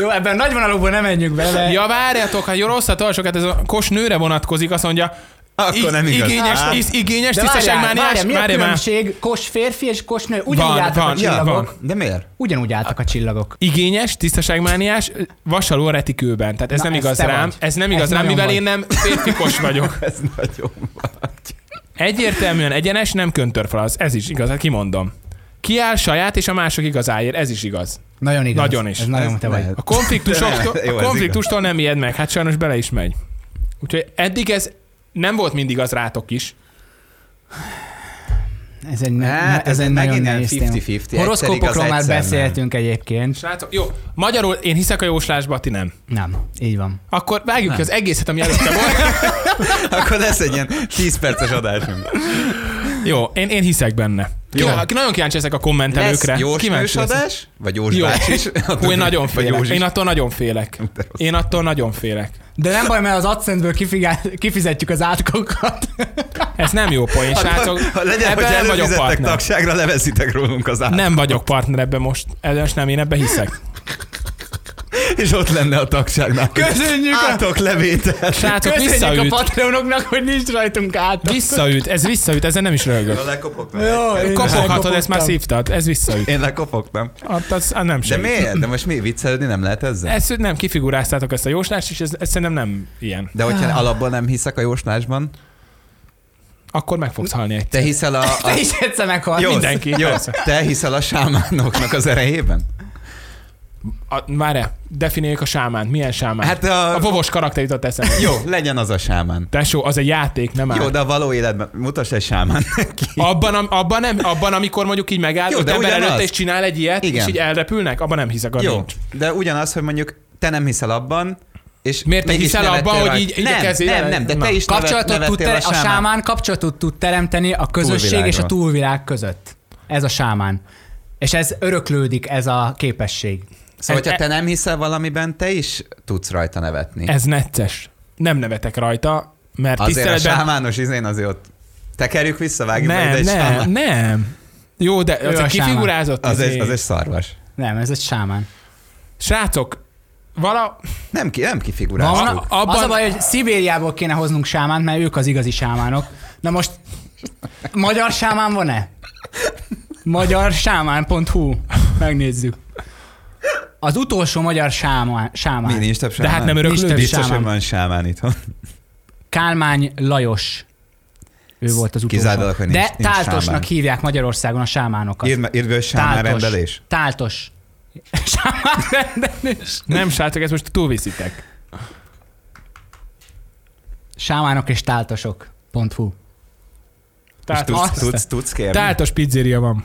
S3: Jó, ebben a nagyvonalúban nem menjünk bele.
S1: Ja, várjátok, ha jól rosszat olvasok, hát ez a kos nőre vonatkozik, azt mondja,
S2: Akkor
S1: ig-
S2: nem igaz.
S1: Igényes,
S2: Á.
S1: isz, igényes
S3: de várjál,
S1: tisztaságmániás,
S3: várjál, mi a
S1: már már.
S3: különbség? Kos férfi és kos nő. Ugyanúgy
S1: Van,
S3: álltak
S1: van, ja,
S3: a csillagok.
S1: van.
S2: De miért?
S3: Ugyanúgy álltak a csillagok.
S1: Igényes, tisztaságmániás, vasaló a retikőben. Tehát ez
S3: Na,
S1: nem
S3: ez
S1: igaz
S3: te
S1: rám,
S3: vagy.
S1: ez nem igaz
S3: Ez
S1: rám,
S3: nagyon
S1: mivel
S3: vagy.
S1: én nem férfikos vagyok.
S2: Ez nagyon vagy.
S1: Egyértelműen egyenes, nem köntörfalasz. Ez is igaz, hát kimondom. Kiáll saját és a mások igazáért, ez is igaz.
S3: Nagyon igaz.
S1: Nagyon is.
S3: Ez nagyon
S2: Ez
S3: te vagy.
S2: lehet.
S1: A konfliktusoktól,
S2: [laughs] Jó, ez
S1: a
S2: igaz.
S1: konfliktustól nem ijed meg, hát sajnos bele is megy. Úgyhogy eddig ez nem volt mindig az rátok is.
S3: Ez egy, ne-
S2: Hát,
S3: ne- ez
S2: ez
S3: egy
S2: megint
S3: nagyon
S2: ilyen
S3: nehéz téma.
S2: 50-50, egyszer
S3: Horoszkópokról
S2: igaz,
S3: már
S2: egyszer nem.
S3: beszéltünk egyébként.
S1: Srácok, jó, magyarul én hiszek a jóslásba, ti nem.
S3: Nem, így van.
S1: Akkor vágjuk ki az egészet, ami előtte
S2: [laughs]
S1: volt.
S2: Akkor lesz egy ilyen 10 perces adásunk.
S1: Jó, én, én hiszek benne. Jó.
S2: Jó.
S1: nagyon kíváncsi ezek a kommentelőkre.
S2: Lesz Jós
S1: Kíváncsi
S2: nős
S1: leszek.
S2: adás? Vagy Jós
S1: Jó.
S2: bácsi is?
S1: Hú, én nagyon
S2: Vagy Józsi
S1: félek.
S2: is.
S1: Én attól nagyon félek.
S2: De rossz.
S1: Én attól nagyon félek.
S3: De nem baj, mert az AdSense-ből kifigá- kifizetjük az átkokat.
S1: Ez nem jó poén, srácok.
S2: Ha legyen, hogy
S1: ebben nem vagyok
S2: előfizettek
S1: partner.
S2: tagságra, leveszitek rólunk az át.
S1: Nem vagyok partner ebben most. Ebben most nem, én ebben hiszek.
S2: És ott lenne a tagságnál.
S3: Köszönjük a-
S2: Átok levétel.
S1: Srácok,
S3: Köszönjük a
S1: visszaüt.
S3: Patreonoknak, hogy nincs rajtunk át.
S1: Visszaüt, ez visszaüt, ezen nem is röhögök.
S2: lekopok
S3: én
S1: Kapoghatod,
S3: lekopogtam.
S1: ezt már szívtad, ez visszaüt.
S2: Én lekopogtam.
S1: Hát az, az nem
S2: De
S1: segít.
S2: miért? De most mi viccelődni nem lehet ezzel?
S1: Ezt nem kifiguráztátok ezt a jóslást, és ez, ez szerintem nem ilyen.
S2: De hogyha alapból nem hiszek a jóslásban,
S1: Akkor meg fogsz halni egy.
S2: te hiszel a... a...
S3: Te is egyszer meghalt.
S2: Jó,
S1: mindenki,
S2: Jó,
S1: persze.
S2: te hiszel a sámánoknak az erejében?
S1: A- Várj, definiáljuk a sámánt. Milyen sámán?
S2: Hát a...
S1: A vovos karakter jutott eszembe.
S2: Jó, legyen az a sámán.
S1: Tesó, az egy játék, nem áll.
S2: Jó, de a való életben mutass egy sámán neki.
S1: Abban, am- abban, nem, abban, amikor mondjuk így megáll
S2: Jó,
S1: Jó,
S2: de
S1: de ember
S2: ugyanaz.
S1: előtte, és csinál egy ilyet, Igen. és
S2: Igen.
S1: így elrepülnek, abban nem hiszek,
S2: Jó,
S1: abban
S2: de ugyanaz, hogy mondjuk te nem hiszel abban, és
S1: Miért te
S2: mégis
S1: hiszel
S2: nevettél
S1: abban, hogy
S2: rajta.
S1: így- így a
S2: nem,
S1: kezére-
S2: nem, nem, de
S1: Na.
S2: te is
S3: Kapcsolatot tud
S2: nevettél
S3: ter- a
S2: sámán.
S3: sámán kapcsolatot tud teremteni a közösség és a
S2: Túlvilágról.
S3: túlvilág között. Ez a sámán. És ez öröklődik, ez a képesség.
S2: Szóval,
S1: Ez-
S2: hogyha te nem hiszel valamiben, te is tudsz rajta nevetni.
S1: Ez necces. Nem nevetek rajta, mert
S2: Azért a
S1: tiszteletben...
S2: sámános izén azért ott tekerjük vissza, vágjuk meg,
S1: nem,
S2: de egy
S1: nem,
S2: sámán.
S1: nem. Jó, de
S3: Ő
S1: az
S3: a
S1: egy
S3: sámán.
S1: kifigurázott.
S2: Az
S1: izé.
S2: egy, az egy szarvas.
S3: Nem, ez egy sámán.
S1: Srácok, vala...
S2: Nem, ki, nem kifigurás.
S3: Van,
S1: a- abban-
S3: abban... Az a baj, hogy Szibériából kéne hoznunk sámánt, mert ők az igazi sámánok. Na most, magyar sámán van-e? Magyar sámán.hu. Megnézzük. Az utolsó magyar sámán.
S2: Mi
S3: sámán. hát
S2: nincs több sámán?
S1: hát nem öröklődik.
S2: Biztos,
S3: Sámán.
S2: hogy van sámán itthon.
S3: Kálmány Lajos. Ő volt az utolsó.
S2: Kizárólag, hogy nincs-
S3: De
S2: nincs
S3: táltosnak
S2: sámán.
S3: hívják Magyarországon a sámánokat.
S2: Írd, me- írd be, hogy sámán
S3: Táltos.
S2: rendelés.
S3: Táltos. [laughs] Sámán rendelés.
S1: Nem, srácok, ezt most túlviszitek.
S3: Sámánok és táltosok. .hu.
S2: És
S1: Táltos,
S2: tudsz,
S3: azt-
S2: tudsz, tudsz kérni?
S1: táltos pizzeria van.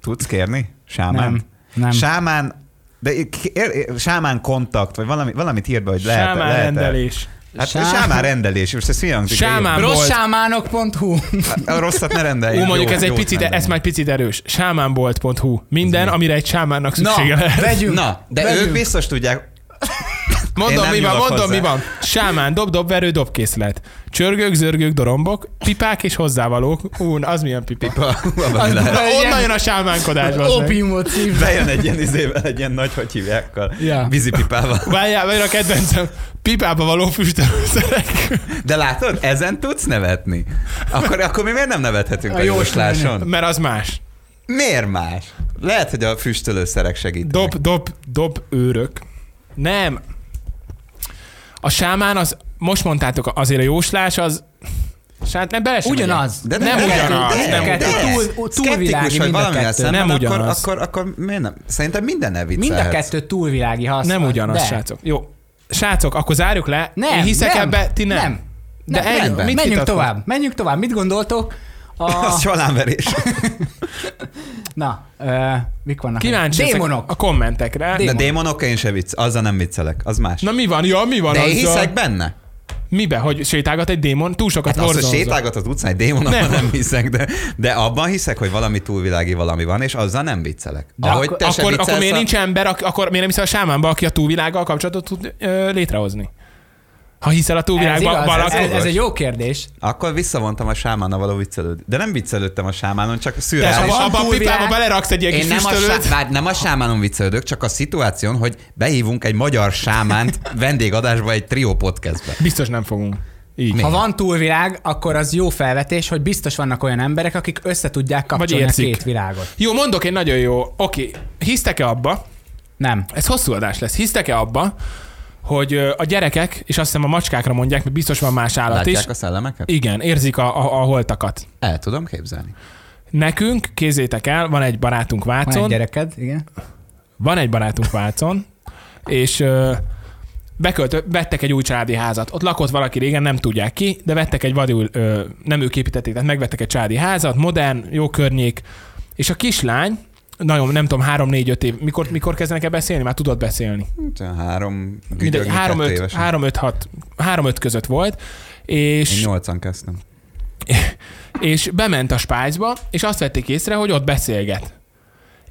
S2: Tudsz kérni? Sámán?
S3: Nem. Nem.
S2: Sámán, de í- ki- ér- ér- sámán kontakt, vagy valami, valamit írd be, hogy lehet
S1: Sámán
S2: lehet
S1: rendelés.
S2: Hát
S3: Sá-
S2: Sá... sámán rendelés, most ez hülyankzik.
S1: Sámán volt.
S3: Rosszámánok.hu.
S2: Hát, A rosszat ne rendeljük.
S1: Ú, mondjuk
S2: jó-
S1: ez egy
S2: jót
S1: picit,
S2: rendelj.
S1: ez már egy picit erős. Sámánbolt.hu. Minden, amire egy sámánnak
S3: Na,
S1: szüksége lehet.
S3: vegyünk.
S2: Na, de
S3: vegyünk.
S2: ők biztos tudják,
S1: Mondom,
S2: Én nem
S1: mi van,
S2: nyúlok
S1: mondom,
S2: hozzá.
S1: mi van. Sámán, dob, dob, verő, dobkészlet. Csörgők, zörgők, dorombok, pipák és hozzávalók. Ún, az milyen pipa. pipa.
S3: [laughs]
S2: valami lehet.
S1: Onnan jön a sámánkodás. bazd meg.
S3: Opiumot szívve.
S2: Bejön egy ilyen izével, egy ilyen nagy, hogy hívják, a
S1: Ja.
S2: vízipipával.
S1: Várjál, mert a kedvencem. Pipába való füstölőszerek.
S2: De látod, ezen tudsz nevetni. Akkor, akkor mi miért nem nevethetünk
S3: A
S2: a, jósláson?
S1: Mert az más.
S2: Miért más? Lehet, hogy a füstölőszerek segítenek.
S1: Dob, dob, dob őrök. Nem. A sámán az, most mondtátok, azért a jóslás az, hát nem bele sem megyek.
S3: Ugyanaz.
S2: De
S1: Nem ugyanaz,
S2: de-
S1: nem
S2: de-
S1: ugyanaz.
S2: de-
S3: Túl- túlvilági
S2: Szkeptikus,
S3: mind
S2: hogy
S3: a
S2: valamivel
S3: kettő.
S2: szemben,
S1: Nem
S2: akkor-
S1: ugyanaz.
S2: Akkor, akkor miért nem? Szerintem minden
S3: Mind
S2: elviccelhetsz.
S3: a kettő túlvilági hasz.
S1: Nem ugyanaz,
S3: De.
S1: srácok. Jó. Srácok, akkor zárjuk le.
S3: Nem,
S1: Én hiszek
S3: nem,
S1: ebbe, ti nem.
S3: Nem.
S1: De
S3: nem,
S1: egy-
S3: rendben.
S1: mit
S3: menjünk
S1: vitatkozunk?
S3: tovább. Menjünk tovább. Mit gondoltok? A...
S2: [laughs] Az csalánverés.
S3: Na, ö, mik vannak?
S1: Kíváncsi leszek
S3: Démonok.
S1: a kommentekre.
S3: Dé-
S2: De
S3: Démonok.
S2: démonokkal én se vicc, azzal nem viccelek, az más.
S1: Na mi van? Ja, mi van
S2: De én
S1: azzal?
S2: hiszek benne.
S1: Mibe? Hogy sétálgat egy démon? Túl sokat
S2: Hát az, hogy
S1: borzonzol.
S2: sétálgat az utcán egy démon, abban
S1: Nem.
S2: nem. hiszek, de, de abban hiszek, hogy valami túlvilági valami van, és azzal nem viccelek.
S3: De akkor-
S2: se
S1: Akkor, akkor
S2: viccelsz
S1: miért
S2: a-
S1: nincs ember, ak- akkor miért nem hiszel a sámánba, aki a túlvilággal kapcsolatot tud ö, létrehozni? Ha hiszel a
S3: Ez,
S1: túlvilágban
S3: igaz, ez,
S1: valaki.
S3: ez, ez egy jó kérdés.
S2: Akkor visszavontam a sámánnal való viccelőd. De nem viccelődtem a sámánon, csak
S1: Te
S2: szürreális.
S1: abba, abba a
S3: túlvilág-
S1: pipába beleraksz egy ilyen
S2: Én
S1: kis
S2: nem a, sá-
S1: füstölőt.
S2: bár nem a sámánon viccelődök, csak a szituáción, hogy behívunk egy magyar sámánt
S1: [laughs]
S2: vendégadásba egy trió podcastbe.
S1: Biztos nem fogunk. Így.
S3: Ha van túlvilág, akkor az jó felvetés, hogy biztos vannak olyan emberek, akik össze tudják kapcsolni a
S1: érzik.
S3: két világot.
S1: Jó, mondok egy nagyon jó. Oké, hisztek-e abba,
S3: Nem.
S1: ez hosszú adás lesz, hisztek-e abba, hogy ö, a gyerekek, és azt hiszem a macskákra mondják, mert biztos van más állat is,
S2: Látják a szellemeket?
S1: igen, érzik a, a, a holtakat.
S2: El tudom képzelni.
S1: Nekünk, kézzétek el, van egy barátunk
S3: Van egy
S1: Vácon,
S3: gyereked, igen.
S1: van egy barátunk Vácon, és ö, beköltö, vettek egy új családi házat. Ott lakott valaki régen, nem tudják ki, de vettek egy vadul, ö, nem ők építették, tehát megvettek egy családi házat, modern, jó környék, és a kislány, nagyon, nem tudom, három-négy-öt év, mikor, mikor kezdenek el beszélni? Már tudod beszélni.
S2: Itt olyan Három
S1: Mindegy,
S2: gügyögni kettő
S1: 3-5,
S2: évesen.
S1: 3-5, 3-5 között volt,
S2: Én
S1: és,
S2: nyolcan kezdtem.
S1: és bement a spájzba, és azt vették észre, hogy ott beszélget.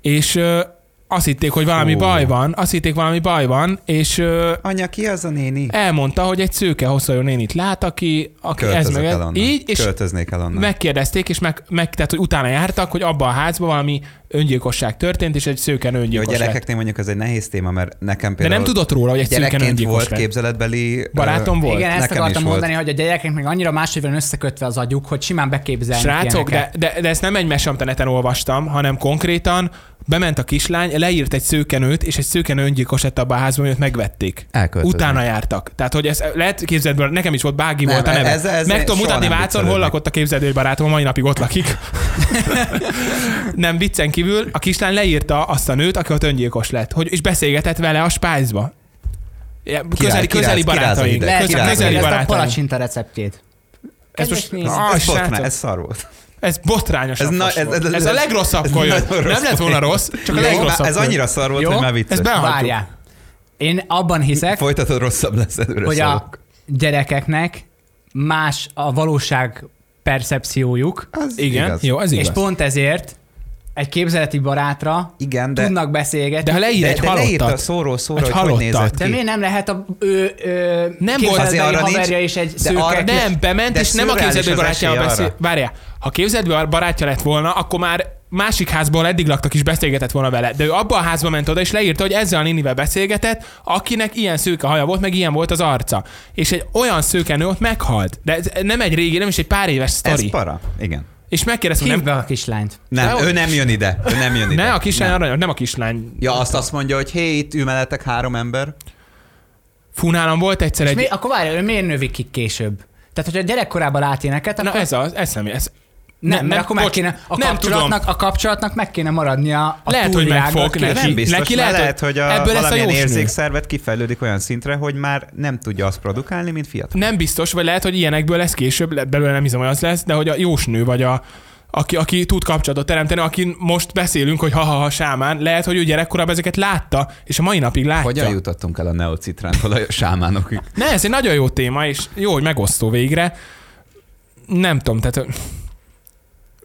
S1: És ö, azt hitték, hogy valami
S2: Ó.
S1: baj van, azt hitték, valami baj van, és ö,
S2: Anya, ki az a néni?
S1: elmondta, hogy egy szőke hosszú nénit lát, aki, aki ez
S2: Költözök
S1: meg
S2: el
S1: ez.
S2: onnan.
S1: Így, és
S2: Költöznék el onnan.
S1: megkérdezték, és meg, meg, tehát, hogy utána jártak, hogy abban a házban valami öngyilkosság történt, és egy szőken
S2: Jó, a
S1: öngyilkos lett.
S2: gyerekeknél mondjuk ez egy nehéz téma, mert nekem
S1: De
S2: például
S1: nem tudott róla, hogy egy szőken
S2: gyerekként
S1: öngyilkos
S2: volt
S1: lett.
S2: képzeletbeli...
S1: Barátom volt.
S3: Igen, ezt
S2: Nekem
S3: akartam
S2: is volt.
S3: mondani, hogy a gyerekek még annyira máshogy van összekötve az agyuk, hogy simán beképzelnek
S1: Srácok, de,
S3: ilyeneket.
S1: de, de, ezt nem egy mesamtaneten olvastam, hanem konkrétan bement a kislány, leírt egy szőkenőt, és egy szőkenő öngyilkos lett abban a házban, hogy őt megvették.
S2: Elköltöznek.
S1: Utána jártak. Tehát, hogy ez lehet képzeletből, nekem is volt, Bági
S2: Nem,
S1: volt a neve.
S2: ez- ez-
S1: Meg
S2: ez
S1: tudom
S2: soha
S1: mutatni
S2: nem
S1: Vácon, hol
S2: viccelődnek.
S1: lakott a képzelő barátom, a mai napig ott lakik. nem viccen kívül, a kislány leírta azt a nőt, aki ott öngyilkos lett, hogy, és beszélgetett vele a spájzba. Ja, Közeli,
S2: kiráz-
S1: közeli
S2: kiráz-
S1: barátaink.
S2: kiráz-
S3: Lehet,
S2: Lehet,
S1: Közeli
S3: hogy
S2: kiráz-
S1: közeli
S3: ezt
S2: kiráz-
S3: a
S1: barátaink.
S3: palacsinta receptjét.
S1: Ez most,
S3: Kedves nézd.
S1: Ah,
S2: Ez, botrány,
S1: srácok.
S2: ez szar volt.
S1: Ez botrányos.
S2: Ez
S1: Ez,
S2: na-
S1: na,
S2: ez-
S1: ez,
S2: ez-
S1: ez, ez, a
S2: ez-
S1: legrosszabb
S2: ez
S1: kölyök.
S2: nagyon rossz
S1: Nem lett volna
S2: poén.
S1: rossz, csak a
S2: Jó, hát
S1: legrosszabb
S2: ez
S1: kölyök.
S2: annyira szar volt,
S3: Jó?
S2: hogy már vicces.
S1: Ez be- Elhagyjuk.
S3: Várjál. Én abban hiszek,
S2: Folytatod, rosszabb lesz előre
S3: hogy a
S2: szarok.
S3: gyerekeknek más a valóság percepciójuk,
S2: Az
S1: Igen,
S2: igaz.
S1: jó, ez
S3: és
S1: igaz.
S3: pont ezért egy képzeleti barátra
S2: Igen,
S3: de,
S2: de,
S3: tudnak beszélgetni.
S1: De ha leír
S2: de,
S1: egy
S2: de leírta
S1: halottat,
S2: szóról szóra,
S1: Egy
S2: hogy hogy
S1: halottat.
S2: nézett
S3: de miért
S2: ki.
S3: nem lehet a ő, ő
S1: Nem volt-
S2: Azért
S3: képzeletbeli
S2: arra nincs-
S3: haverja is egy
S2: de
S3: szőke?
S2: arra-
S3: kis-
S1: Nem, bement,
S2: De
S1: és nem a
S2: szürreális
S1: képzeletből
S2: az esély
S1: barátjával
S2: arra.
S1: beszél. Várjál, ha képzeletből barátja lett volna, akkor már másik házból eddig laktak is beszélgetett volna vele. De ő abba a házba ment oda, és leírta, hogy ezzel a nénivel beszélgetett, akinek ilyen szőke haja volt, meg ilyen volt az arca. És egy olyan szőke nő ott meghalt. De ez nem egy régi, nem is egy pár éves
S2: Ez
S1: sztori.
S2: para. Igen.
S1: És megkérdeztem,
S3: Hívd
S1: nem,
S3: be a kislányt.
S2: Nem,
S1: De-
S2: ő nem jön ide. Ő nem jön ide.
S1: ne a kislány
S2: Nem.
S1: aranyos, nem a kislány.
S2: Ja, azt azt mondja, hogy hé, itt ül mellettek három ember.
S1: Fú, nálam volt egyszer
S3: És
S1: egy...
S3: mi, akkor várjál, ő miért növi ki később? Tehát, hogyha gyerekkorában áténeket,
S1: Na
S3: akkor
S1: ez az, ez nem, ez,
S3: nem,
S1: nem,
S3: mert akkor meg
S1: bocs,
S3: kéne, a,
S1: nem
S3: kapcsolatnak, a kapcsolatnak meg kéne maradnia a
S1: Lehet, hogy
S3: túlvilággal
S1: megfog
S3: képest.
S1: neki.
S2: Nem biztos,
S1: Neki
S2: mert
S1: lehet,
S2: lehet,
S1: hogy
S2: hogy a,
S1: ebből lesz a
S2: valamilyen
S1: jósnő.
S2: érzékszervet kifejlődik olyan szintre, hogy már nem tudja azt produkálni, mint fiatal.
S1: nem biztos, vagy lehet, hogy ilyenekből lesz később, le- belőle nem hiszem, hogy az lesz, de hogy a jósnő vagy a aki, aki tud kapcsolatot teremteni, akin most beszélünk, hogy ha-ha-ha sámán, lehet, hogy ő gyerekkorában ezeket látta, és a mai napig látja.
S2: Hogyan jutottunk el a neocitrántól a sámánokig?
S1: Ne, ez egy nagyon jó téma, és jó, hogy megosztó végre. Nem tudom, tehát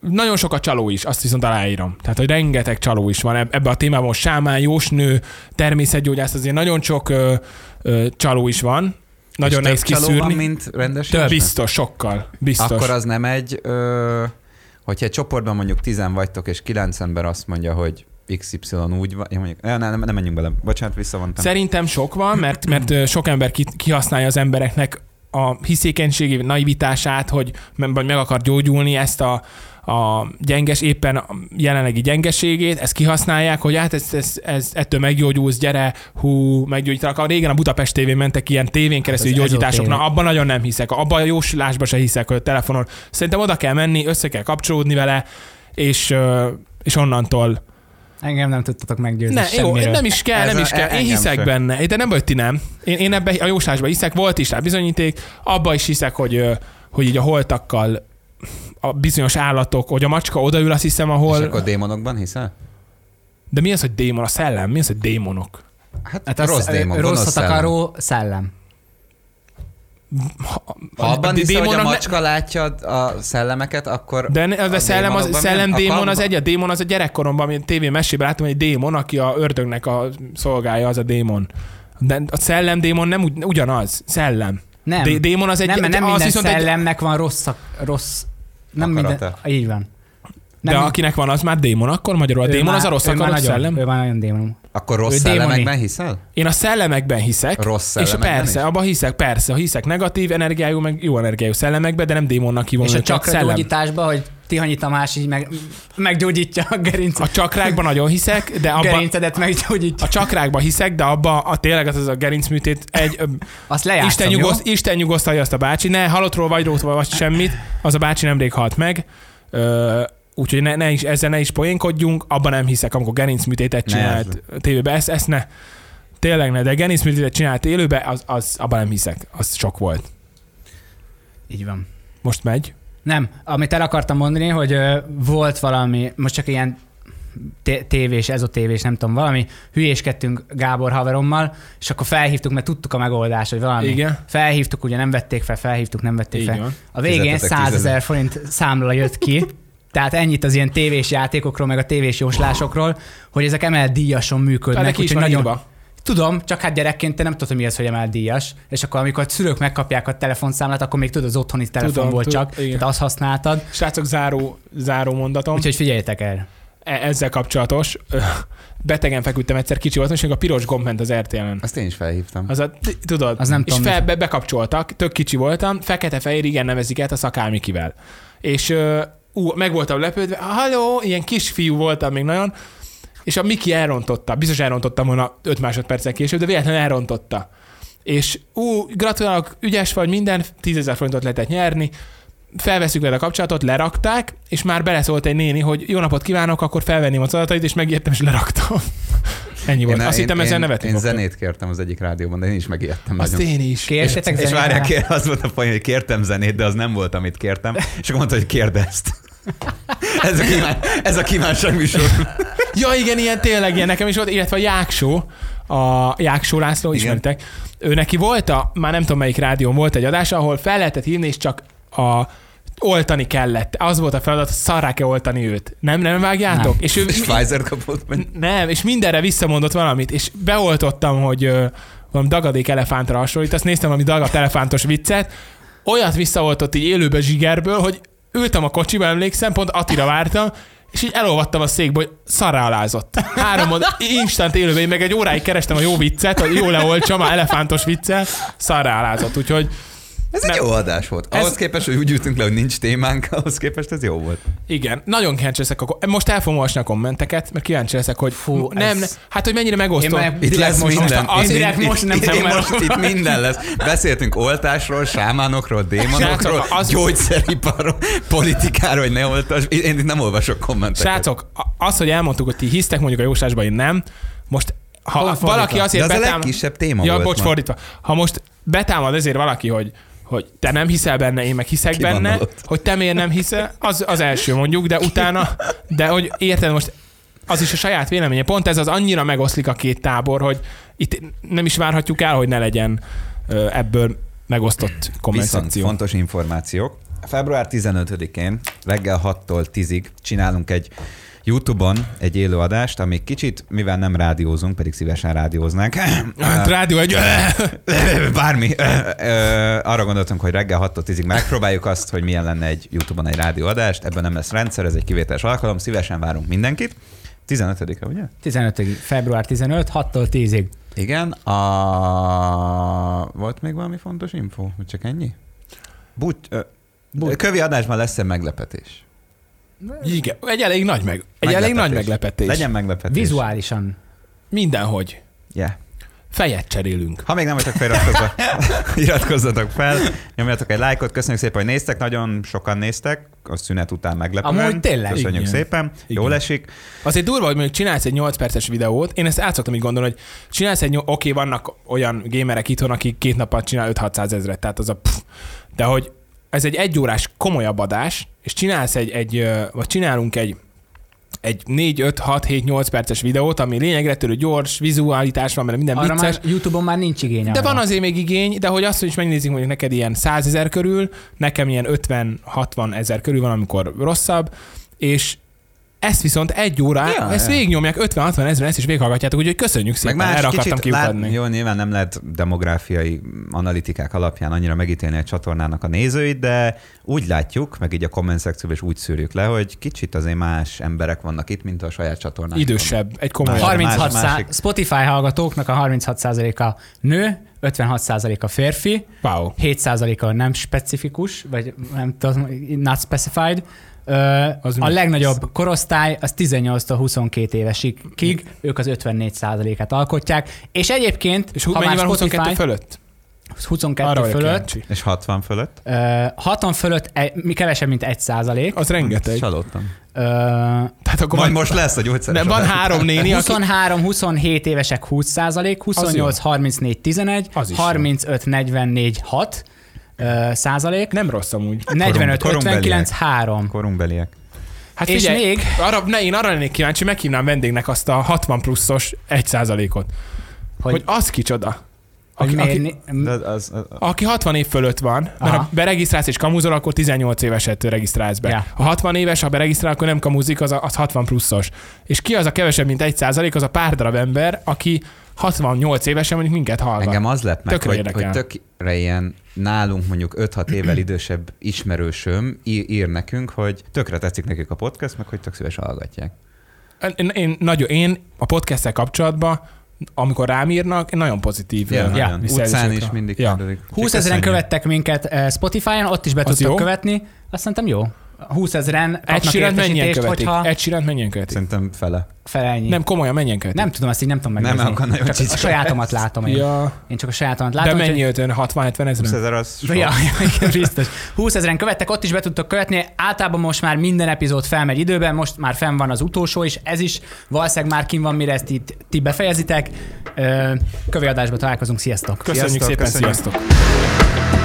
S1: nagyon sok a csaló is, azt viszont aláírom. Tehát, hogy rengeteg csaló is van eb- ebbe a témában, sámán, jósnő, természetgyógyász, azért nagyon sok ö, ö, csaló is van. Nagyon
S2: És
S1: nehéz
S2: több csaló van,
S1: kiszűrni.
S2: mint rendes
S1: Több.
S2: életben?
S1: Biztos, sokkal. Biztos.
S2: Akkor az nem egy, ö, hogyha egy csoportban mondjuk tizen vagytok, és kilenc ember azt mondja, hogy XY úgy van, ja, mondjuk, nem, nem, nem menjünk bele, bocsánat, visszavontam.
S1: Szerintem sok van, mert, mert ö, sok ember ki- kihasználja az embereknek a hiszékenységi naivitását, hogy me- vagy meg akar gyógyulni ezt a, a gyenges, éppen a jelenlegi gyengeségét, ezt kihasználják, hogy hát ez, ez, ez ettől meggyógyulsz, gyere, hú, meggyógyítanak. A régen a Budapest tévén mentek ilyen tévén keresztül
S3: ez
S1: gyógyítások,
S3: ezotérikus.
S1: na abban nagyon nem hiszek, abban a jóslásban se hiszek, hogy a telefonon. Szerintem oda kell menni, össze kell kapcsolódni vele, és, ö, és onnantól
S3: Engem nem tudtatok meggyőzni
S1: ne, jó,
S3: semmiről.
S1: nem is kell,
S2: Ez
S1: nem
S2: a-
S1: is kell. Én
S2: engem
S1: hiszek
S2: se.
S1: benne, de nem vagy ti nem. Én, én ebbe a jóslásba hiszek, volt is rá bizonyíték, abba is hiszek, hogy, ö, hogy így a holtakkal a bizonyos állatok, hogy a macska odaül, azt hiszem,
S2: és
S1: ahol...
S2: akkor démonokban hiszel?
S1: De mi az, hogy démon? A szellem? Mi az, hogy démonok?
S3: Hát az
S2: rossz
S1: e-
S2: démon, gonosz
S3: rosszat
S2: szellem.
S3: akaró szellem.
S2: Ha abban
S1: de
S2: hiszel, hogy a
S1: démonok ne-
S2: macska látja a szellemeket, akkor...
S1: De, ne, de
S2: a
S1: szellem, az,
S2: démonokban
S1: szellem
S2: nem-
S1: démon az
S2: akkor-
S1: egy, a démon az a gyerekkoromban, amit tévé mesében láttam, egy démon, aki a ördögnek a szolgája, az a démon. De a szellem démon nem ugy- ugyanaz. Szellem.
S3: Nem.
S1: Dé- démon az egy...
S3: nem, mert nem
S1: az
S3: minden
S1: viszont egy-
S3: szellemnek van rossz, szak- rossz nem minden,
S2: Akarata.
S3: így van.
S1: De akinek van, az már démon, akkor magyarul a
S3: ő
S1: démon
S3: már-
S1: az a rossz
S3: ő már
S1: akarat
S3: nagyon-
S1: szellem.
S3: Ő már nagyon démon.
S2: Akkor
S3: Ő
S2: rossz
S3: démoni.
S2: szellemekben hiszel?
S1: Én a szellemekben hiszek,
S2: Rossz
S1: és
S2: szellemekben
S1: persze,
S2: is?
S1: abban hiszek, persze, hiszek negatív energiájú, meg jó energiájú szellemekbe, de nem démonnak hívom
S3: És a
S1: őket,
S3: csakra
S1: szellem.
S3: gyógyításban, hogy Tihanyi Tamás így meg, meggyógyítja a gerincet.
S1: A csakrákban nagyon hiszek, de
S3: A
S1: abban
S3: gerincedet meggyógyítja.
S1: a csakrákban hiszek, de abban a tényleg az az a gerincműtét egy... ö,
S3: Azt lejátszom,
S1: Isten,
S3: jó?
S1: nyugosz, Isten nyugosztalja azt a bácsi, ne halottról vagy rótról vagy semmit, az a bácsi nemrég halt meg, Ö, úgyhogy ne, ne is, ezzel ne is poénkodjunk, abban nem hiszek, amikor gerincműtétet
S2: Ne,
S1: csinált tévébe, ezt, ezt ne. Tényleg ne, de gerincműtétet csinált élőbe, az, az, abban nem hiszek, az sok volt.
S3: Így van.
S1: Most megy.
S3: Nem, amit el akartam mondani, hogy ö, volt valami, most csak ilyen té- tévés, ezotévés, nem tudom, valami, hülyéskedtünk Gábor haverommal, és akkor felhívtuk, mert tudtuk a megoldást, hogy valami.
S1: Igen.
S3: Felhívtuk, ugye nem vették fel, felhívtuk, nem vették
S1: Így
S3: fel.
S1: van.
S3: A végén
S2: Fizetetek
S3: 100 ezer
S2: 10.000
S3: forint számla jött ki, tehát ennyit az ilyen tévés játékokról, meg a tévés jóslásokról, hogy ezek emelt díjason működnek.
S1: Ennek is
S3: úgyhogy
S1: van
S3: nagyon-
S1: írva.
S3: Tudom, csak hát gyerekként te nem tudod, hogy mi az, hogy emelt díjas, és akkor amikor a szülők megkapják a telefonszámlát, akkor még tudod, az otthoni telefon
S1: Tudom,
S3: volt
S1: tudom,
S3: csak,
S1: igen.
S3: tehát azt használtad.
S1: Srácok, záró, záró mondatom.
S3: Úgyhogy figyeljetek el.
S1: E- ezzel kapcsolatos. Ö, Betegen feküdtem egyszer, kicsi voltam, és még a piros gomb ment az RTL-en.
S2: Azt én is felhívtam.
S1: Az a, t- tudod,
S3: Az nem
S1: és
S3: tudom,
S1: fel, be, bekapcsoltak, tök kicsi voltam, fekete-fehér, igen, nevezik el a szakámikivel. És ö, ú, meg voltam lepődve, halló, ilyen kisfiú voltam még nagyon, és a Miki elrontotta, biztos elrontottam volna 5 másodperccel később, de véletlenül elrontotta. És ú, gratulálok, ügyes vagy, minden, 10 ezer forintot lehetett nyerni, felveszük vele a kapcsolatot, lerakták, és már beleszólt egy néni, hogy jó napot kívánok, akkor felvenném az adatait, és megértem, és leraktam. [laughs] Ennyi volt. Azt hittem, ezzel nevetni
S2: Én
S1: fogtok.
S2: zenét kértem az egyik rádióban, de én is megijedtem
S1: Azt
S2: nagyon.
S1: én is.
S3: Kérsetek
S2: És
S3: zenére.
S2: várják, kér- az volt a poén, hogy kértem zenét, de az nem volt, amit kértem. És akkor mondta, hogy kérd ezt. ez, a kíván, ez a kívánság műsor.
S1: Ja, igen, ilyen tényleg ilyen nekem is volt, illetve a Jáksó, a Jáksó László,
S2: Igen.
S1: ismeritek. Ő neki volt a, már nem tudom melyik rádión volt egy adás, ahol fel lehetett hívni, és csak a oltani kellett. Az volt a feladat, szarrá kell oltani őt. Nem, nem vágjátok?
S3: Nem.
S1: És ő
S2: És Pfizer kapott meg.
S1: nem, és mindenre visszamondott valamit, és beoltottam, hogy ö, valami dagadék elefántra hasonlít, azt néztem valami dagadt elefántos viccet, olyat visszaoltott így élőbe zsigerből, hogy ültem a kocsiba, emlékszem, pont Atira vártam, és így elolvattam a székből, hogy szarálázott. Három mond, instant élőben, én meg egy óráig kerestem a jó viccet, hogy jó leoltsam a elefántos viccel, szarálázott. Úgyhogy
S2: Ez egy
S1: Nem.
S2: jó adás volt.
S1: Ez-
S2: Ahhoz képest, hogy úgy jutunk le, hogy nincs témánk, ahhoz képest ez jó volt.
S1: Igen, nagyon kíváncsi leszek. A, most el fogom olvasni a kommenteket, mert kíváncsi leszek, hogy
S3: Fú,
S1: nem,
S3: ez-
S1: ne, hát hogy mennyire
S3: Én
S1: megosztom.
S3: már
S2: Itt
S3: direkt
S2: lesz
S3: most-
S2: minden.
S3: Most, az
S2: Itt-
S3: direkt
S2: itt-
S3: most nem
S2: itt-
S3: tudom
S2: itt, most,
S3: elolvasni.
S2: itt minden lesz. Beszéltünk oltásról, sámánokról, démonokról,
S1: Srácok, az-
S2: gyógyszeriparról, politikáról, hogy ne oltas. Én itt nem olvasok kommenteket.
S1: Srácok, a- az, hogy elmondtuk, hogy ti hisztek mondjuk a jóslásba, én nem. Most, ha
S3: Pont fordítva.
S1: valaki
S2: De
S1: azért
S2: az a
S1: betám...
S2: legkisebb téma
S1: ja,
S2: volt
S1: bocs,
S2: ma.
S1: fordítva. Ha most betámad ezért valaki, hogy hogy te nem hiszel benne, én meg hiszek
S2: Ki van
S1: benne,
S2: alatt?
S1: hogy te miért nem hiszel, az, az első mondjuk, de utána, de hogy érted most, az is a saját véleménye. Pont ez az annyira megoszlik a két tábor, hogy itt nem is várhatjuk el, hogy ne legyen ö, ebből megosztott
S2: Viszont
S1: kommentáció.
S2: fontos információk. Február 15-én reggel 6-tól 10-ig csinálunk egy YouTube-on egy élőadást, ami kicsit, mivel nem rádiózunk, pedig szívesen rádióznánk.
S1: [clears throat] Hát, Rádió egy...
S2: [clears throat]
S1: [laughs]
S2: Bármi. [clears throat] Arra gondoltunk, hogy reggel 6-tól 10-ig megpróbáljuk azt, hogy milyen lenne egy YouTube-on egy rádióadást. Ebben nem lesz rendszer, ez egy kivételes alkalom. Szívesen várunk mindenkit. 15-e, ugye?
S3: 15 február 15, 6-tól 10-ig.
S2: Igen. A... Volt még valami fontos info? Vagy csak ennyi? But... Ö...
S3: But-
S2: Kövi adásban lesz egy meglepetés. Hát
S1: Igen, egy elég nagy, meg, egy elég nagy meglepetés.
S2: Legyen meglepetés.
S3: Vizuálisan.
S1: Mindenhogy.
S2: Yeah.
S1: Fejet cserélünk.
S2: Ha még nem vagytok
S1: [laughs]
S2: feliratkozva, iratkozzatok fel, nyomjatok egy lájkot, köszönjük szépen, hogy néztek, nagyon sokan néztek, a szünet után meglepően.
S3: Amúgy tényleg.
S2: Köszönjük
S1: Igen.
S2: Igen. szépen,
S1: Igen.
S2: Igen. jól esik.
S1: Azért durva, hogy mondjuk csinálsz egy 8 perces videót, én ezt át szoktam így gondolni, hogy csinálsz egy, nyol- oké, vannak olyan gémerek itthon, akik két nap alatt csinál 5-600 ezret, tehát az a pff, de hogy ez egy egyórás komolyabb adás, és csinálsz egy, egy ö, vagy csinálunk egy egy 4, 5, 6, 7, 8 perces videót, ami lényegre törő gyors, vizualitás van, mert minden
S3: Arra
S1: vicces.
S3: már YouTube-on már nincs igény.
S1: De
S3: arra.
S1: van azért még igény, de hogy azt is megnézzük, mondjuk neked ilyen 100 ezer körül, nekem ilyen 50-60 ezer körül van, amikor rosszabb, és ezt viszont egy órá, ja,
S2: Ja,
S1: ezt
S2: ja.
S1: végignyomják 50-60 ezeren, ezt is végighallgatjátok, úgyhogy köszönjük szépen,
S2: Meg más
S1: erre akartam
S2: kicsit lát,
S1: kiukadni.
S2: jó, nyilván nem lehet demográfiai analitikák alapján annyira megítélni a csatornának a nézőit, de úgy látjuk, meg így a komment szekcióban is úgy szűrjük le, hogy kicsit azért más emberek vannak itt, mint a saját csatornánkon.
S1: Idősebb, egy komoly.
S2: Harminc-
S3: 36
S2: Más-
S3: szá-
S2: másik.
S3: Spotify hallgatóknak a 36%-a nő, 56%-a férfi,
S1: Wow.
S3: 7%-a nem specifikus, vagy nem tudom, not specified. Ö,
S1: Az
S3: a
S1: mi?
S3: legnagyobb korosztály az 18-tól 22 évesig, kig, ők az 54%-át alkotják, és egyébként,
S1: És
S3: ha
S1: mennyi
S3: már
S1: van 22
S3: Spotify
S1: fölött?
S3: 22
S1: vagyok
S3: fölött,
S1: kíváncsi.
S2: És 60 fölött?
S3: ö, 60 fölött egy, mi kevesebb, mint 1 százalék.
S1: Az rengeteg.
S2: Csalódtam.
S3: Ö,
S1: Tehát akkor
S2: Majd
S1: van-
S2: most lesz a gyógyszeres
S1: de van
S2: adás.
S1: három néni, aki
S3: 23-27 évesek 20 százalék, 28-34-11,
S1: Az is
S3: 35-44-6 ö, százalék,
S1: nem rossz amúgy.
S3: 45-59-3.
S2: Korunkbeliek.
S1: Hát
S3: És
S1: figyelj,
S3: még-
S1: arra, ne, én arra lennék kíváncsi, meghívnám vendégnek azt a 60 pluszos 1%-ot. Hogy,
S3: Hogy-
S1: hogy az kicsoda.
S3: Hogy
S1: Aki, aki,
S3: miért né-
S2: De az, az, az,
S1: aki 60 év fölött van, mert
S3: Aha.
S1: ha beregisztrálsz és kamuzol, akkor 18 éveset regisztrálsz be.
S3: Ja.
S1: Ha 60 éves, ha beregisztrál, akkor nem kamuzik, az, a, az 60 pluszos. És ki az a kevesebb, mint 1%, az a pár darab ember, aki 68 évesen mondjuk minket hallgat.
S2: Engem az lett meg,
S1: Tökre
S2: hogy,
S1: érdekel.
S2: hogy tökre ilyen nálunk mondjuk 5-6 évvel idősebb ismerősöm í- ír nekünk, hogy tökre tetszik nekik a podcast, meg hogy tök szívesen hallgatják.
S1: Én, én, nagyon, én a podcasttel kapcsolatban, amikor rám írnak, én nagyon pozitív.
S2: Ja,
S1: ö,
S2: ja, utcán
S1: visszajelzésekre.
S2: is mindig
S1: Ja.
S2: kérdezik.
S3: 20 ezeren követtek minket eh, Spotify-on, ott is be
S1: Az
S3: tudtok
S1: jó.
S3: követni. Azt szerintem jó. 20 ezeren
S1: Egy
S3: kapnak
S1: sírent mennyien
S3: értesítést,
S1: követik?
S3: hogyha
S1: Egy sírent mennyien követik?
S2: Szerintem fele.
S3: felelnyi. Nem,
S1: Nem, komolyan mennyien követik?
S3: nem tudom, azt így nem tudom
S2: Nem,
S3: megnézni.
S2: akkor nagyon
S3: csak a
S2: csicska
S3: sajátomat látom én.
S1: Ja,
S3: Én csak a sajátomat
S1: de
S3: látom.
S1: mennyi 50, 60, 70
S2: 20
S1: ezer?
S2: ezer az sok.
S3: Ja, ja, igen, biztos. 20 ezeren követtek, ott is be tudtok követni. Általában most már minden epizód felmegy időben, most már fenn van az utolsó is, ez is. Valószínűleg már kim van, mire ezt itt ti befejezitek. Ö, Kövi adásban találkozunk, sziasztok!
S1: Köszönjük
S2: Sziasztok,
S1: szépen,
S2: köszönjük.
S1: sziasztok!